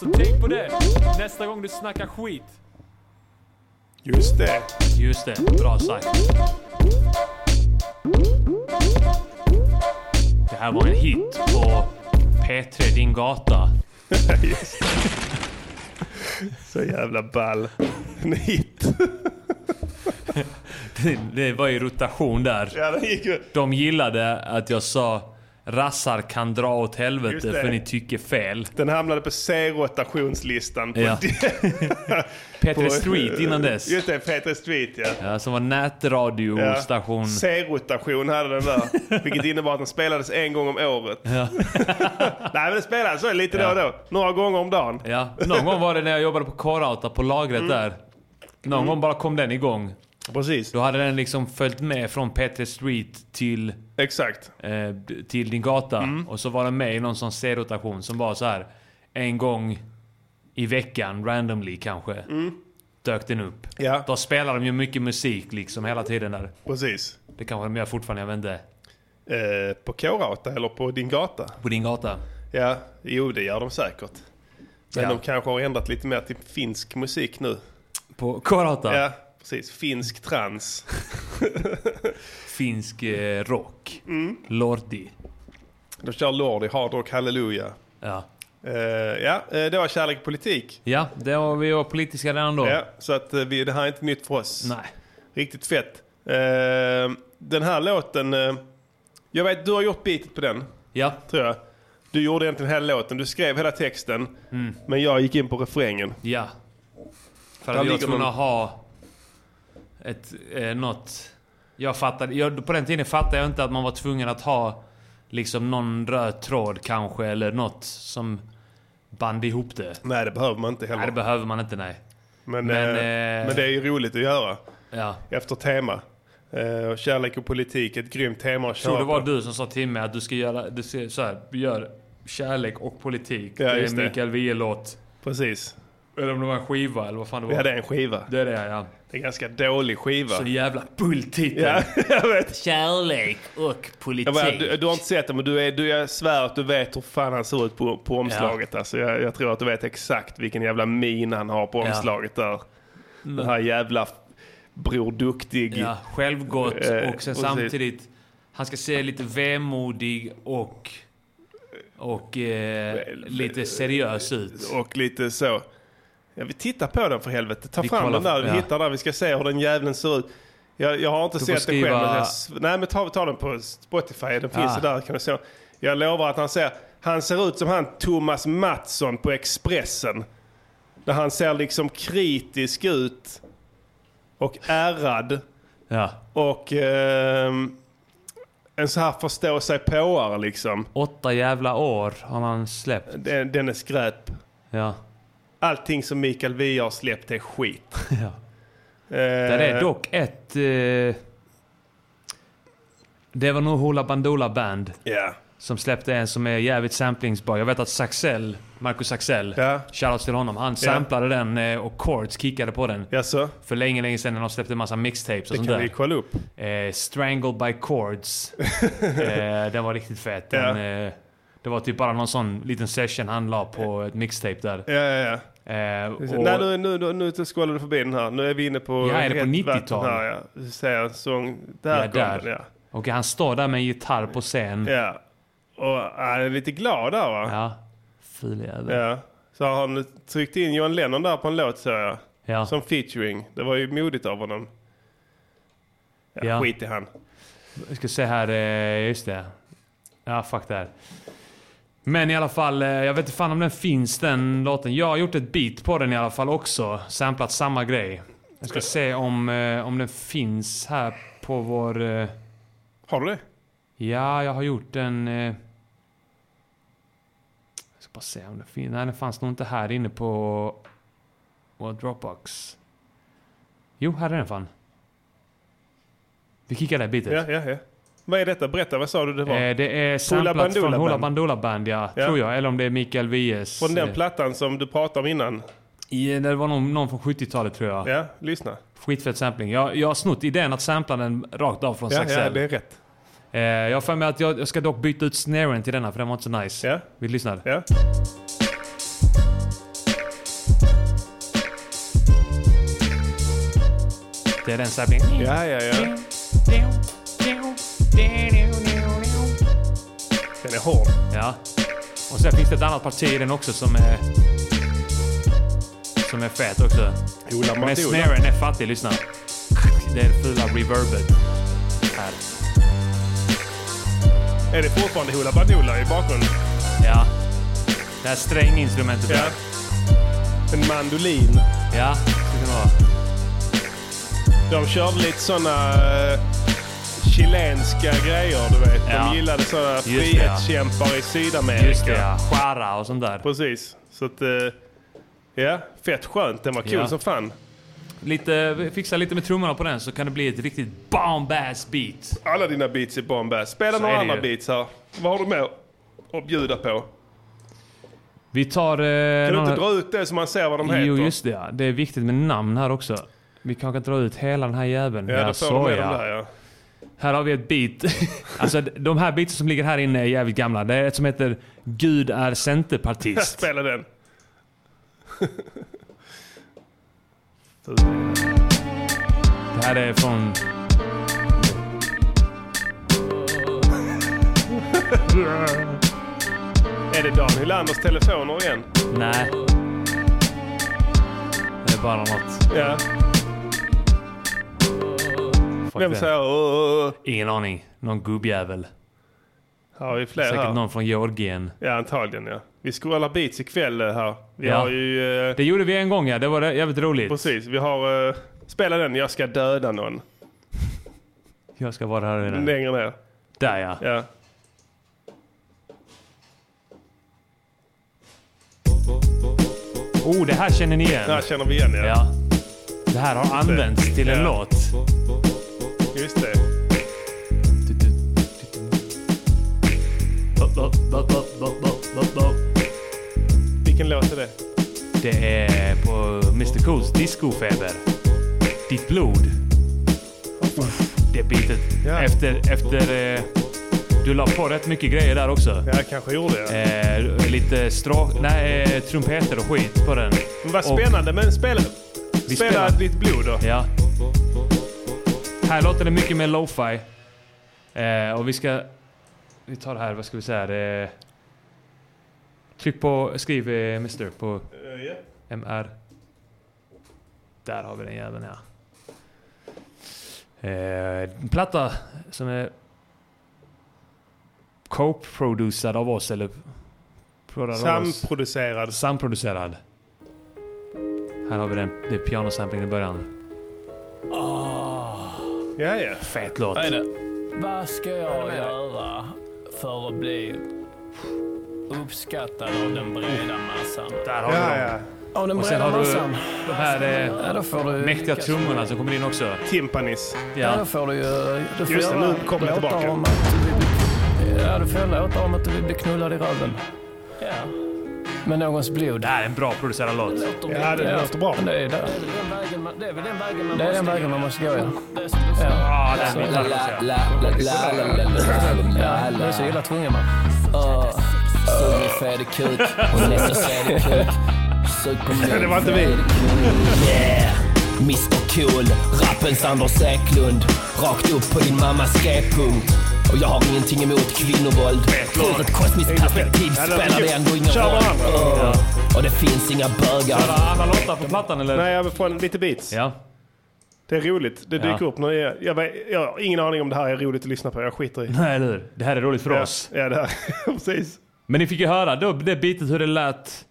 Så tänk på det nästa gång du snackar skit. Just det. Just det, bra sagt. Det här var en hit på P3 Din Gata. Just det. Så jävla ball. [LAUGHS] En hit. Det- Det var ju rotation där. Ja, den gick ju. De gillade att jag sa rassar kan dra åt helvete Just det. för ni tycker fel. Den hamnade på C-rotationslistan. På [LAUGHS] Ja. Petre Street innan dess. Just det, Peter Street ja. Ja, som var nätradiostation. C-rotation hade den där. Vilket innebar att den spelades en gång om året. [LAUGHS] Ja. Nej men den spelades så lite då och då. Några gånger om dagen. Ja, någon gång var det när jag jobbade på Karauta på lagret Mm. där. Någon gång bara kom den igång. Precis. Då hade den liksom följt med från Petre Street till, Exakt. eh, d- till din gata. Mm. Och så var den med i någon sån C-rotation som var så här en gång i veckan, randomly kanske, Mm. dök den upp. Ja. Då spelar de ju mycket musik liksom hela tiden där. Precis. Det kanske de gör fortfarande, jag vet inte. Eh, på K-rauta eller på din gata? På din gata. Ja, jo det gör de säkert. Men Ja. de kanske har ändrat lite mer till finsk musik nu. På Karauta? Ja, precis. Finsk trans. Finsk eh, rock. Mm. Lordi. De kör Lordi, Hard Rock, Halleluja. Ja. Eh, ja, eh, det var kärlek och politik. ja, det var, vi var politiska redan då. Ja, så att eh, vi, det här är inte nytt för oss. Nej. Riktigt fett. Eh, den här låten, eh, jag vet du har gjort beatet på den, Ja, tror jag. Du gjorde egentligen hela låten, du skrev hela texten. Men jag gick in på refrängen. Mm. ja. För Där att vi var ligger tvungna någon- att ha ett, eh, något... Jag fattade, jag, på den tiden fattade jag inte att man var tvungen att ha liksom någon röd tråd kanske eller något som band ihop det. Nej, det behöver man inte heller. Nej, det behöver man inte, nej. men, men, eh, eh, men det är ju roligt att göra Ja. efter tema. Eh, och kärlek och politik, ett grymt tema att Jag tror köra det var på. du som sa till mig att du ska göra du ska, så här, gör kärlek och politik. Ja, det är just det. Mikael Wiehe-låt. Precis. Eller om det var en skiva eller vad fan det var. Vi hade en skiva. Det är det ja. Det är en ganska dålig skiva. Så jävla bulltitel. Ja, jag vet. Kärlek och politik. Jag bara, du, du har inte sett det, men du är, du, jag svär att du vet hur fan han ser ut på, på omslaget. Alltså, jag, jag tror att du vet exakt vilken jävla min han har på Ja. Mm. omslaget där. Den här jävla Bror Duktig. Ja, självgott och Eh, sen precis. samtidigt... Han ska se lite vemodig och... Och eh, lite seriös ut. Och lite så. Ja, vi tittar på den för helvete. Ta Vi fram kollar- den där, vi ja. hittar den. Vi ska se hur den jäveln ser ut. Jag, jag har Du inte får sett skriva- det själv. men jag s- Nej men ta, ta den på Spotify. Den finns Ah. ju där kan du se. Jag lovar att han ser, han ser ut som han Thomas Mattsson på Expressen. Där han ser liksom kritisk ut. Och ärrad. Ja. Och ehm, en så här förstå sig påare liksom. Åtta jävla år har man släppt. Den, den är skräp. Ja. Allting som Mikael Wiehe har släppt är skit. [LAUGHS] ja. Eh, Där är dock ett... Eh, det var nog Hoola Bandoola Band Ja. som släppte en som är jävligt samplingsbar. Jag vet att Saxell, Marcus Saxell, Ja. shoutout till honom. Han samplade den eh, och Chords kickade på den. Jaså? För länge, länge sedan när de släppte en massa mixtapes och Det sånt kan vi där. kolla upp. Eh, Strangled by [LAUGHS] Chords. eh, den var riktigt fet. Den, Ja. eh, det var typ bara någon sån liten session han la på ett mixtape där. Ja, ja, Eh, ja. och, Nej, nu, nu, nu, nu skålar du förbi den här. Nu är vi inne på... Ja, är det på rätt 90-tal? vatten här, Ja, Du säger en sång. Där Ja, kom där. den, ja. och han står där med en gitarr på scen. ja. Och han är lite glad där, va? Ja. Ful Ja. jävel. Så har han tryckt in John Lennon där på en låt, så jag. Ja. Som featuring. Det var ju modigt av honom. Ja, Ja. Skit i han. Jag ska se här, eh, just det. Ja, fuck det här. Men i alla fall, eh, jag vet inte fan om den finns den låten. Jag har gjort ett beat på den i alla fall också. Samplat samma grej. Jag ska se om, eh, om den finns här på vår... eh, Har du det? Ja, jag har gjort en... eh, Jag ska bara se om den finns. Nej, den fanns nog inte här inne på vår Dropbox. Jo, här är den fan. Vi kickar det här bitet. Ja, ja, ja. Vad är detta? Berätta, vad sa du det var? Eh, det är samplat från Hoola Bandoola Band, ja, Ja. Tror jag. Eller om det är Mikael Wiehes. Från eh, den plattan som du pratade om innan. i- Det var någon, någon från 70-talet tror jag. Ja, lyssna. Skitfett sampling. Jag, jag har snott idén att sampla den rakt av från Ja, Saxell. ja, det är rätt. Eh, jag har för mig att jag, jag ska dock byta ut snaren till denna för den var inte så nice. Vi lyssnar. Ja. Det är den samplingen. Ja, ja, ja. Den är hård. Ja. Och sen finns det ett annat parti i den också som är... Som är fet också. Ola Bandoola. Men snaren är fattig, lyssna. Det är det fula reverbet. Här. Är det fortfarande Hoola Bandoola i bakgrunden? Ja. Det här stränginstrumentet Ja. där. En mandolin. Ja, det kan vara. De körde lite såna eh, chilenska grejer, du vet. Ja. De gillade såna Just det, ja. frihetskämpar i Sydamerika. Just det ja. Chara och sånt där. Precis. Så att, eh, ja, fett skönt. Den var kul Ja. som fan. Lite, fixa lite med trummorna på den så kan det bli ett riktigt bombass beat. Alla dina beats är bombass. Spela Så några är det andra ju. beats här. Vad har du med att bjuda på? Vi tar... eh, Kan du inte dra ut det så man ser vad de heter? Jo, just det ja. Det är viktigt med namn här också. Vi kanske kan dra ut hela den här jäveln. Ja, då får de så, med de där ja. [LAUGHS] Här har vi ett beat. [LAUGHS] alltså d- de här beatsen som ligger här inne är jävligt gamla. Det är ett som heter Gud är [LAUGHS] centerpartist. Spela den. Det här är från... är det Dan Hylanders telefoner igen? Nej. Det är bara något. Ja. Fuck Vem det. säger åh? åh, åh"? Ingen aning. Någon gubbjävel. Har vi fler Säkert här? någon från Georgien. Ja, antagligen ja. Vi scrollar beats ikväll eh, här. Vi Ja. har ju... eh, Det gjorde vi en gång ja. Det var jävligt roligt. precis, vi har... eh, spela den, Jag ska döda någon. Jag ska vara här inne. Längre ner. Där ja. Ja. Oh, det här känner ni Det här igen. känner vi igen ja. Ja. Det här har använts till en Ja. låt. Just det. Vilken låt är det? Det är på Mr Cools discofeber. Ditt blod. Det bitet. Ja. Efter... efter eh, du la på rätt mycket grejer där också. Ja, jag kanske gjorde det. Eh, lite strå... Nej, eh, trumpeter och skit på den. Men vad Och- spännande, men spela... Vi Spela spelar- ditt blod då. Ja. Här låter det mycket mer lo-fi. Eh, och vi ska... Vi tar det här, vad ska vi säga? Eh, tryck på... Skriv eh, Mr på Eh, ja. MR. Där har vi den jäveln ja. Eh, en platta som är co-producerad av oss eller... prodad av oss. Samproducerad. Samproducerad. Här har vi den. Det är pianosamplingen i början. Ja, ja. Fet låt. Vad ska jag göra för att bli uppskattad av den breda massan? Där har Ja, vi dem. ja. Av den Och sen breda har du massan? de här eh, Ja, då får du... mäktiga trummorna som kommer in också. Timpanis. Ja, då Ja. får du ju... Du får Just det, göra nu kommer jag låtar tillbaka. Om att du vill, ja, du får låta om att du vill bli knullad i röven. Ja. Med någons blod. Det här är en bra producerad låt. Ja, det låter bra. Men det är där. Det är den vägen man måste gå, ja. Ja, det här är min favorit. Ja, det är så illa tvungen man. Sug min fede kuk och nästa fede kuk. Sug på min Det var inte vi. Yeah. Mr Cool, rappens Anders Eklund. Rakt upp på din mammas g-punkt. Och jag har ingenting emot kvinnovåld. Ur ett kosmiskt perspektiv Ja, det var spelar det kul. ändå ingen Kör roll. varandra. Åh, Och det finns inga bögar. Var det alla låtar på plattan eller? Nej, jag vill få en- lite beats. Ja. [LAUGHS] Det är roligt. Det Ja. dyker upp. När jag, jag, vet- jag har ingen aning om det här är roligt att lyssna på. Jag skiter i. Nej, eller hur? Det här är roligt för Ja, oss. ja det här. [LAUGHS] Precis. Men ni fick ju höra då, det bitet hur det [CLEARS THROAT] lät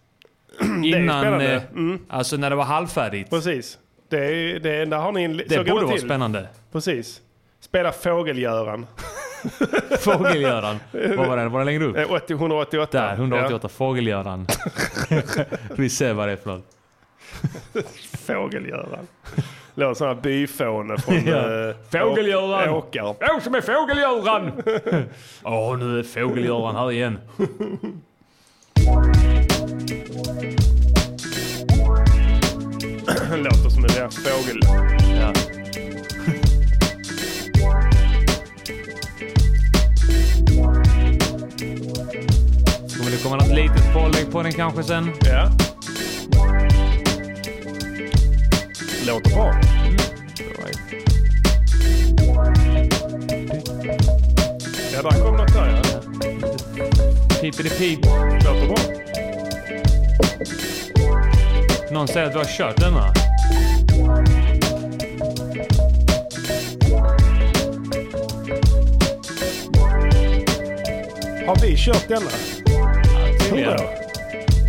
är innan... spännande. Mm. eh, Alltså när det var halvfärdigt. Precis. Det, är, det, är- där har ni en... Det så går borde vara till. spännande. Precis. Spela Fågelgöran. [LAUGHS] Fågelgöran. Vad var den? Var den längre upp? Eh, 80, 188. [LAUGHS] Där, 188. Fågelgöran. Vi ser vad det är för något. Fågelgöran. Låter som en [LAUGHS] byfåne från Ja. eh, Fågelgöran. Åk- Åkar. Jag som är [LAUGHS] fågelgöran! Åh, nu är fågelgöran här igen. Låter som en deras fågel. Ja. Så [LAUGHS] kommer det komma något litet pålägg på den kanske sen. Ja. Låter bra. Mm. Ja, där kom något där ja. Pipidi-pip. Låter bra. Någon säger att vi har kört denna. Har vi kört denna? Tror tydligen. jag.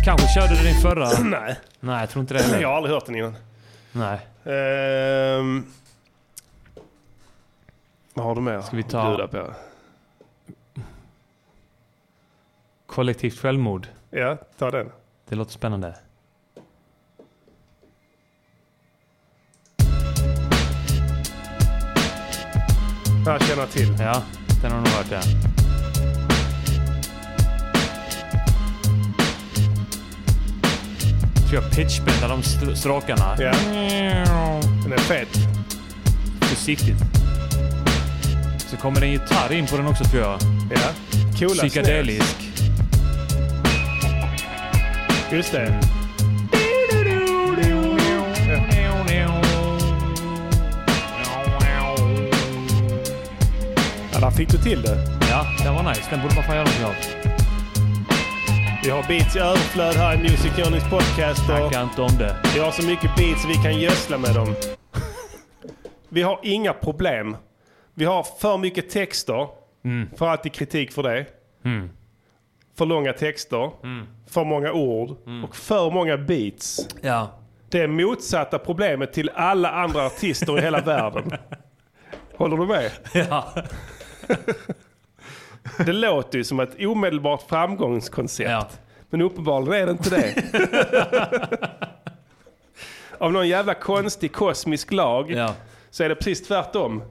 Kanske körde du din förra? [CLEARS THROAT] Nej. Nej, jag tror inte det. heller. Jag har aldrig hört den innan. Nej. Ehm, vad har du mer Ska vi ta- bjuda på? Kollektivt självmord. Ja, ta den. Det låter spännande. Den här känner jag till. Ja, den har du nog hört ja. Tror jag pitchbendar de str- stråkarna. Ja. Den är fet. Försiktigt. Så kommer det en gitarr in på den också tror jag. Ja. Coola Psykedelisk. snares. Just det. Ja, där fick du till det. Ja, den var nice. Den borde man fan göra någonting av. Vi har beats i överflöd här i Music Journeys podcast. och- Snacka inte om det. Vi har så mycket beats vi kan gödsla med dem. Vi har inga problem. Vi har för mycket texter. Mm. Får alltid kritik för det. Mm. För långa texter. För många ord. Och för många beats. Ja. Det är motsatta problemet till alla andra artister i hela världen. Håller du med? Ja. [LAUGHS] Det låter ju som ett omedelbart framgångskoncept. Ja. Men uppenbarligen är det [LAUGHS] inte det. Av någon jävla konstig kosmisk lag Ja. Mm. så är det precis tvärtom.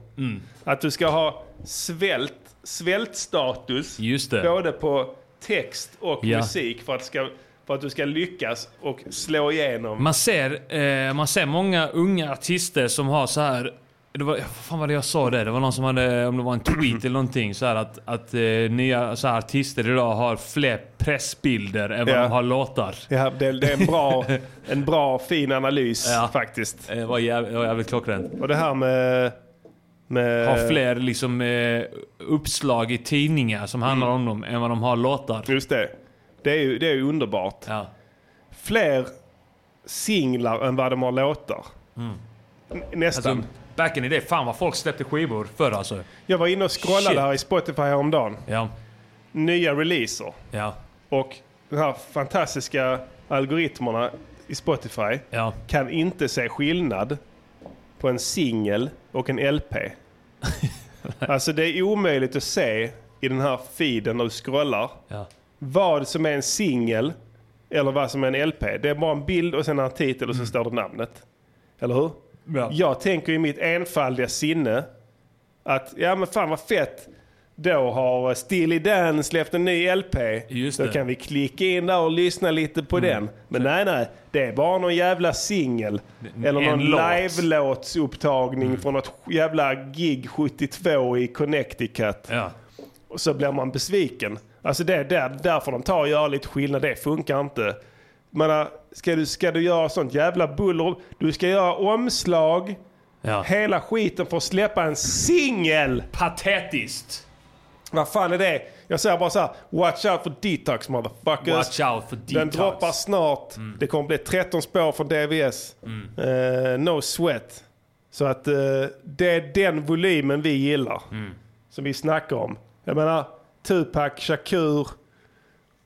Att du ska ha svält, svältstatus Just det. både på text och Ja. musik för att, ska, för att du ska lyckas och slå igenom. Man ser, eh, man ser många unga artister som har så här... Det var, vad fan var det jag sa det? Det var någon som hade, om det var en tweet eller någonting, så här att, att eh, nya så här, artister idag har fler pressbilder än vad Ja. de har låtar. Ja, det, det är en [LAUGHS] bra, en bra fin analys Ja. faktiskt. Eh, Det var jävligt, det var jävligt klockrent. Och det här med... med Har fler liksom eh, uppslag i tidningar som handlar Mm. om dem än vad de har låtar. Just det. Det är ju, det är ju underbart. Ja. Fler singlar än vad de har låtar. N- Nästan. Mm. Alltså, back in the day, fan vad folk släppte skivor förr alltså. jag var inne och scrollade Shit. här i Spotify häromdagen. Ja, Nya releaser. ja, Och de här fantastiska algoritmerna i Spotify ja. kan inte se skillnad på en singel och en LP. [LAUGHS] alltså det är omöjligt att se i den här feeden när du scrollar ja. vad som är en singel eller vad som är en LP. Det är bara en bild och sen en titel och Mm. så står det namnet. Eller hur? Ja. Jag tänker i mitt enfaldiga sinne att ja men fan vad fett. Då har Steely Dan släppt en ny LP. Just Då det. Mm. kan vi klicka in där och lyssna lite på den. Men nej nej, det är bara någon jävla singel. Eller en någon låt. Mm. live-låtsupptagning från något jävla gig 72 i Connecticut. ja. Och så blir man besviken. Alltså det är där, där får de ta och göra lite skillnad. Det funkar inte. Men ska du, ska du göra sånt jävla buller? Du ska göra omslag. ja. Hela skiten för att släppa en singel! Patetiskt! Vad fan är det? Jag säger bara så här, watch out for detox motherfuckers. Watch out for Den detox. Mm. droppar snart. Det kommer bli 13 spår från DVS. Eh, no sweat. Så att eh, det är den volymen vi Mm. gillar. Som vi snackar om. Jag menar Tupac, Shakur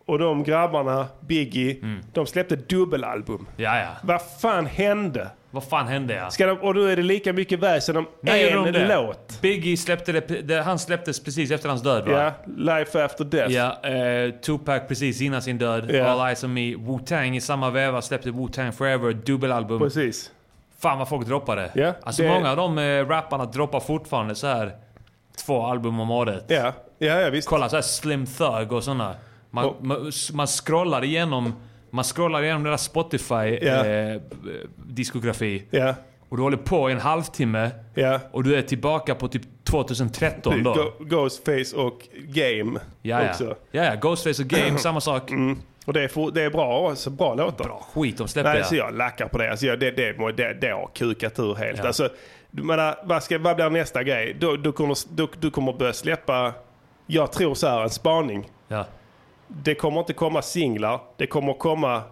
Och de grabbarna, Biggie, Mm. de släppte dubbelalbum. Ja, ja. Vad fan hände? Vad fan hände ja? Ska de, och då är det lika mycket väsen om När gjorde de en det? låt. Biggie släppte det, det, han släpptes precis efter hans död va? Ja, Life After Death. Ja, eh, Tupac precis innan sin död. Ja. All Eyes On Me. Wu-Tang i samma veva släppte Wu-Tang Forever, dubbelalbum. Precis. Fan vad folk droppade. Ja, Alltså det- många av de eh, rapparna droppar fortfarande så här två album om året. Ja, ja, ja visst. Kolla så här Slim Thug och sådana. Man, Och- man, s- man scrollar igenom man scrollar igenom deras Ja. Spotify-diskografi. Ja. Och du håller på i en halvtimme. Ja. Och du är tillbaka på typ 2013 då. Go- Ghostface och Game Ja, ja. också. Mm. ja, ja. Ghostface och Game, samma sak. Och det är, for, det är bra, alltså, bra låtar. Bra skit de släpper, Nej, ja. så jag lackar på det. Alltså, jag, det, det, må- det, det har kukat ur helt. Ja. Alltså, du menar, vad, ska, vad blir nästa grej? Du, du, kommer, du, du kommer börja släppa, jag tror så här, en spaning. Ja. Det kommer inte komma singlar, det kommer komma,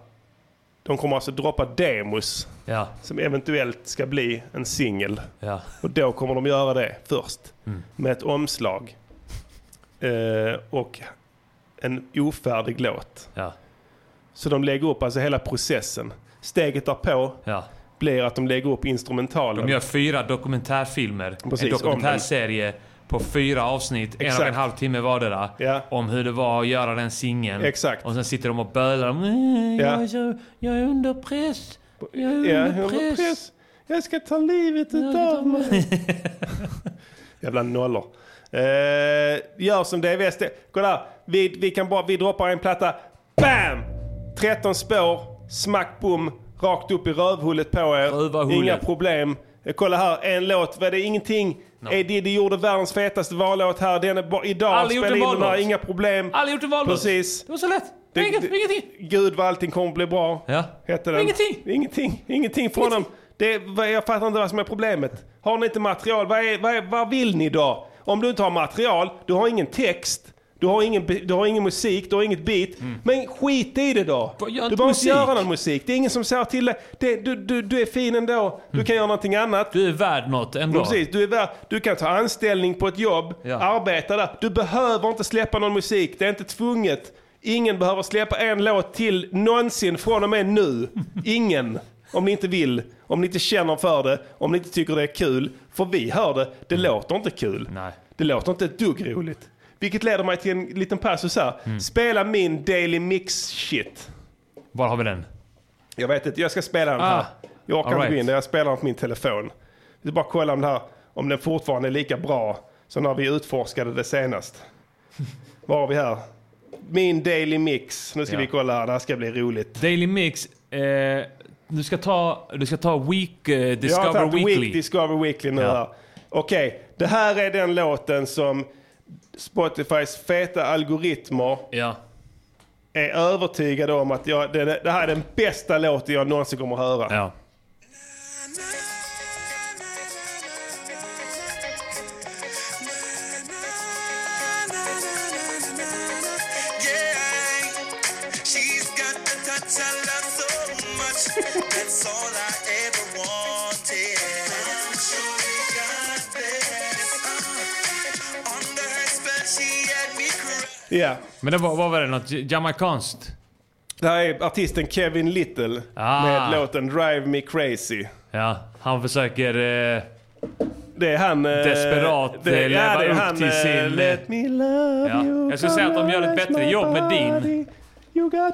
de kommer alltså droppa demos. Ja. Som eventuellt ska bli en singel. Ja. Och då kommer de göra det först. Mm. Med ett omslag. Eh, och en ofärdig låt. Ja. Så de lägger upp alltså hela processen. Steget därpå Ja. blir att de lägger upp instrumentalen. De gör fyra dokumentärfilmer. Precis, en om dokumentärserie på fyra avsnitt, en och Exakt. en halv timme vardera. Om hur det var att göra den singeln. Exakt. Och sen sitter de och bölar. "Mm, Ja. Jag, är så, jag är under press. Jag är under Ja, jag press. har press. Jag ska ta livet utav mig. [LAUGHS] Jävla nollor. Eh, gör som DVS. Det- Kolla, vi, vi, kan bara, vi droppar en platta. BAM! 13 spår, smack bom, rakt upp i rövhullet på er. Rövarhullet. Inga problem. Eh, Kolla här, en låt. Var det ingenting? Är det det gjorde världens fetaste vallåt här. Den är bara idag. Alla gjort Spela en in den här, vallåt. inga problem. Alla gjort en vallåt. Precis. Det var så lätt. Det- Inget, det- ingenting. Gud vad allting kommer bli bra. Ja. Hette den. Ingenting. Ingenting. Ingenting från dem. Det är, vad- jag fattar inte vad som är problemet. Har ni inte material? Vad, är, vad, är, vad vill ni då? Om du inte har material, du har ingen text, du har ingen, bi- du har ingen musik, du har inget beat. Men skit i det då. Mm. Vad, gör du inte behöver musik. inte göra någon musik. Det är ingen som säger till dig. Det, du, du, du är fin ändå. Mm. Du kan göra någonting annat. Du är värd något ändå. Precis, du, är värd, du kan ta anställning på ett jobb, arbeta där. Du behöver inte släppa någon musik, det är inte tvunget. Ingen behöver släppa en låt till någonsin från och med nu. Ingen. Om ni inte vill, om ni inte känner för det, om ni inte tycker det är kul. För vi hör det, det låter inte kul. Det låter inte ett dugg roligt. Vilket leder mig till en liten passus här. Spela min Daily Mix-shit. Var har vi den? Jag vet inte, jag ska spela den här. Ah, Jag orkar all inte gå right. in där, jag spelar den på min telefon. Vi ska bara kolla om, det här, om den fortfarande är lika bra som när vi utforskade [LAUGHS] det senast. Vad har vi här? Min Daily Mix. Nu ska Ja. vi kolla här, det här ska bli roligt. Daily Mix. Eh, du, ska ta, du ska ta Week eh, jag har Discover tagit Weekly. Week Discover Weekly nu Ja. här. Okej, det här är den låten som Spotifys feta algoritmer är övertygade om att jag, det, det här är den bästa låten jag någonsin kommer att höra. Ja. She's got the touch I love so much. That's all I ever wanted. Sure we got this. Uh, under her spell, she had me crying. Ja. Men det var, vad var det? Något jamaikanskt? Det här är artisten Kevin Little Ah. med låten Drive Me Crazy. Ja, han försöker... Eh, Det är han... eh, Desperat, eh, leva det är upp till eh, sin- Let me love Ja. you Jag skulle säga att de gör ett bättre jobb med din.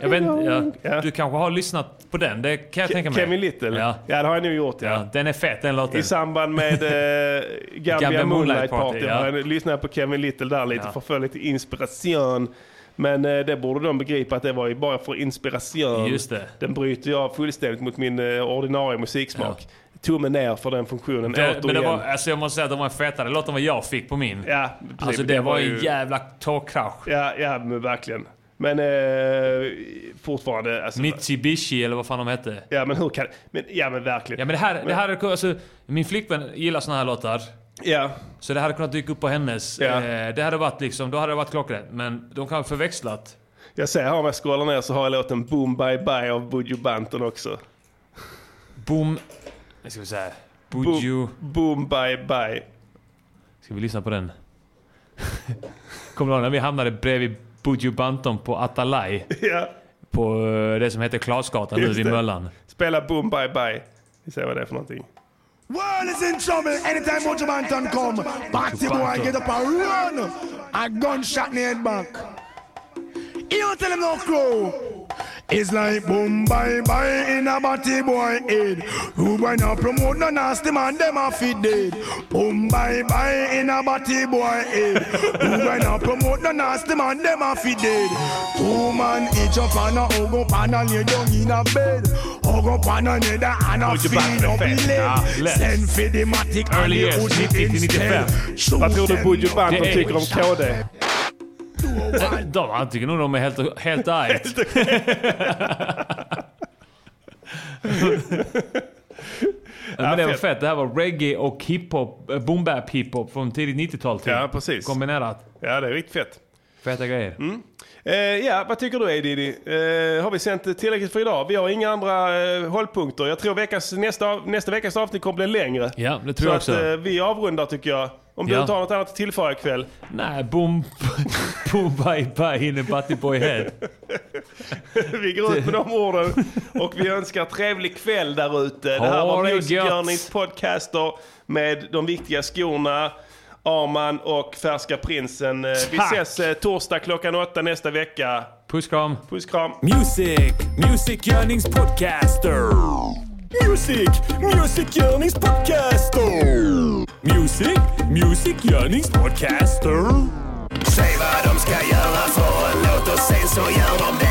Jag vet, ja, Du kanske har lyssnat på den? Det kan jag tänka mig. Kevin Little? Ja. det har jag nog gjort ja. Den är fet den låten. I samband med eh, [LAUGHS] Gambia, Gambia Moonlight, Moonlight Party, Party. ja. Jag lyssnade på Kevin Little där lite Ja. för att få lite inspiration. Men eh, det borde de begripa att det var ju bara för inspiration. Just det. Den bryter jag fullständigt mot min eh, ordinarie musiksmak. Tummen ner för den funktionen Det, återigen. men det var, alltså jag måste säga att de var en fetare låt än vad jag fick på min. Ja, typ. alltså det, var en jävla tågkrasch. Ja, ja men verkligen. Men eh, fortfarande... Alltså, Mitsubishi eller vad fan de hette. Ja men hur kan... Men, ja men verkligen. Ja men det här, det här är, alltså, min flickvän gillar såna här låtar. Ja. Så det här hade kunnat dyka upp på hennes. Eh, det hade varit liksom, då hade det varit klockrent. Men de kan ha förväxlat. Jag ser här om jag scrollar ner så har jag låten Boom Bye Bye av Buju Banton också. Boom... Jag ska vi säga. Buju... Boom Bye Bye. [LAUGHS] [LAUGHS] Ska vi lyssna på den? Kommer du ihåg när vi hamnade bredvid Buju Banton på Atalay. Ja. På eh, det som heter Klasgatan nu Just vid det. Möllan. Spela Boom Bye Bye. Vi ser vad det är för någonting. World is in trouble anytime Mojo Banton come. Batty boy get up and run. A gunshot in the head back. You don't tell him no crow. It's like boom bye bye in a batty boy head. Who boy now promote no nasty man, them a fit dead. Boom bye bye in a batty boy head. Who boy now promote no nasty man, them a fit dead. Two man each up and a hug up and a lay down in a bed. Hug up and another and a Put your back feed up in the the fence. Ah, leg. left. Send for the matic and Early the years, hoodie 90-95. instead. Vad tror du Buju Banton Det är- tycker om KD? Eh, De, han tycker nog de är helt, helt [LAUGHS] ajt. [LAUGHS] Men det var fett. fett. Det här var reggae och hiphop, eh, boom bap hiphop från tidigt 90-tal till. Ja, precis. Kombinerat. Ja, det är riktigt fett. Feta grejer. Eh, ja, vad tycker du Edidi? Eh, har vi sänt tillräckligt för idag? Vi har inga andra eh, hållpunkter. Jag tror veckans, nästa, av- nästa veckas avsnitt kommer bli längre. Ja, det tror jag Så också. att, eh, vi avrundar tycker jag. Om du Ja. inte har något annat att tillföra ikväll. Nej, boom, [LAUGHS] boom bye bye in a butty boy head. vi går ut med de orden. Och vi önskar trevlig kväll där ute. Det här Ha var det gött. Musikgörnings podcaster med de viktiga skorna. Arman och Färska Prinsen. Eh, Vi Tack. ses eh, torsdag klockan åtta nästa vecka. Puss kram. Puss kram. Music, Music Yearnings Podcaster. Music, Music Yearnings Podcaster. Music, Music Yearnings Podcaster. Säg vad de ska göra för en låt och sen så gör de det.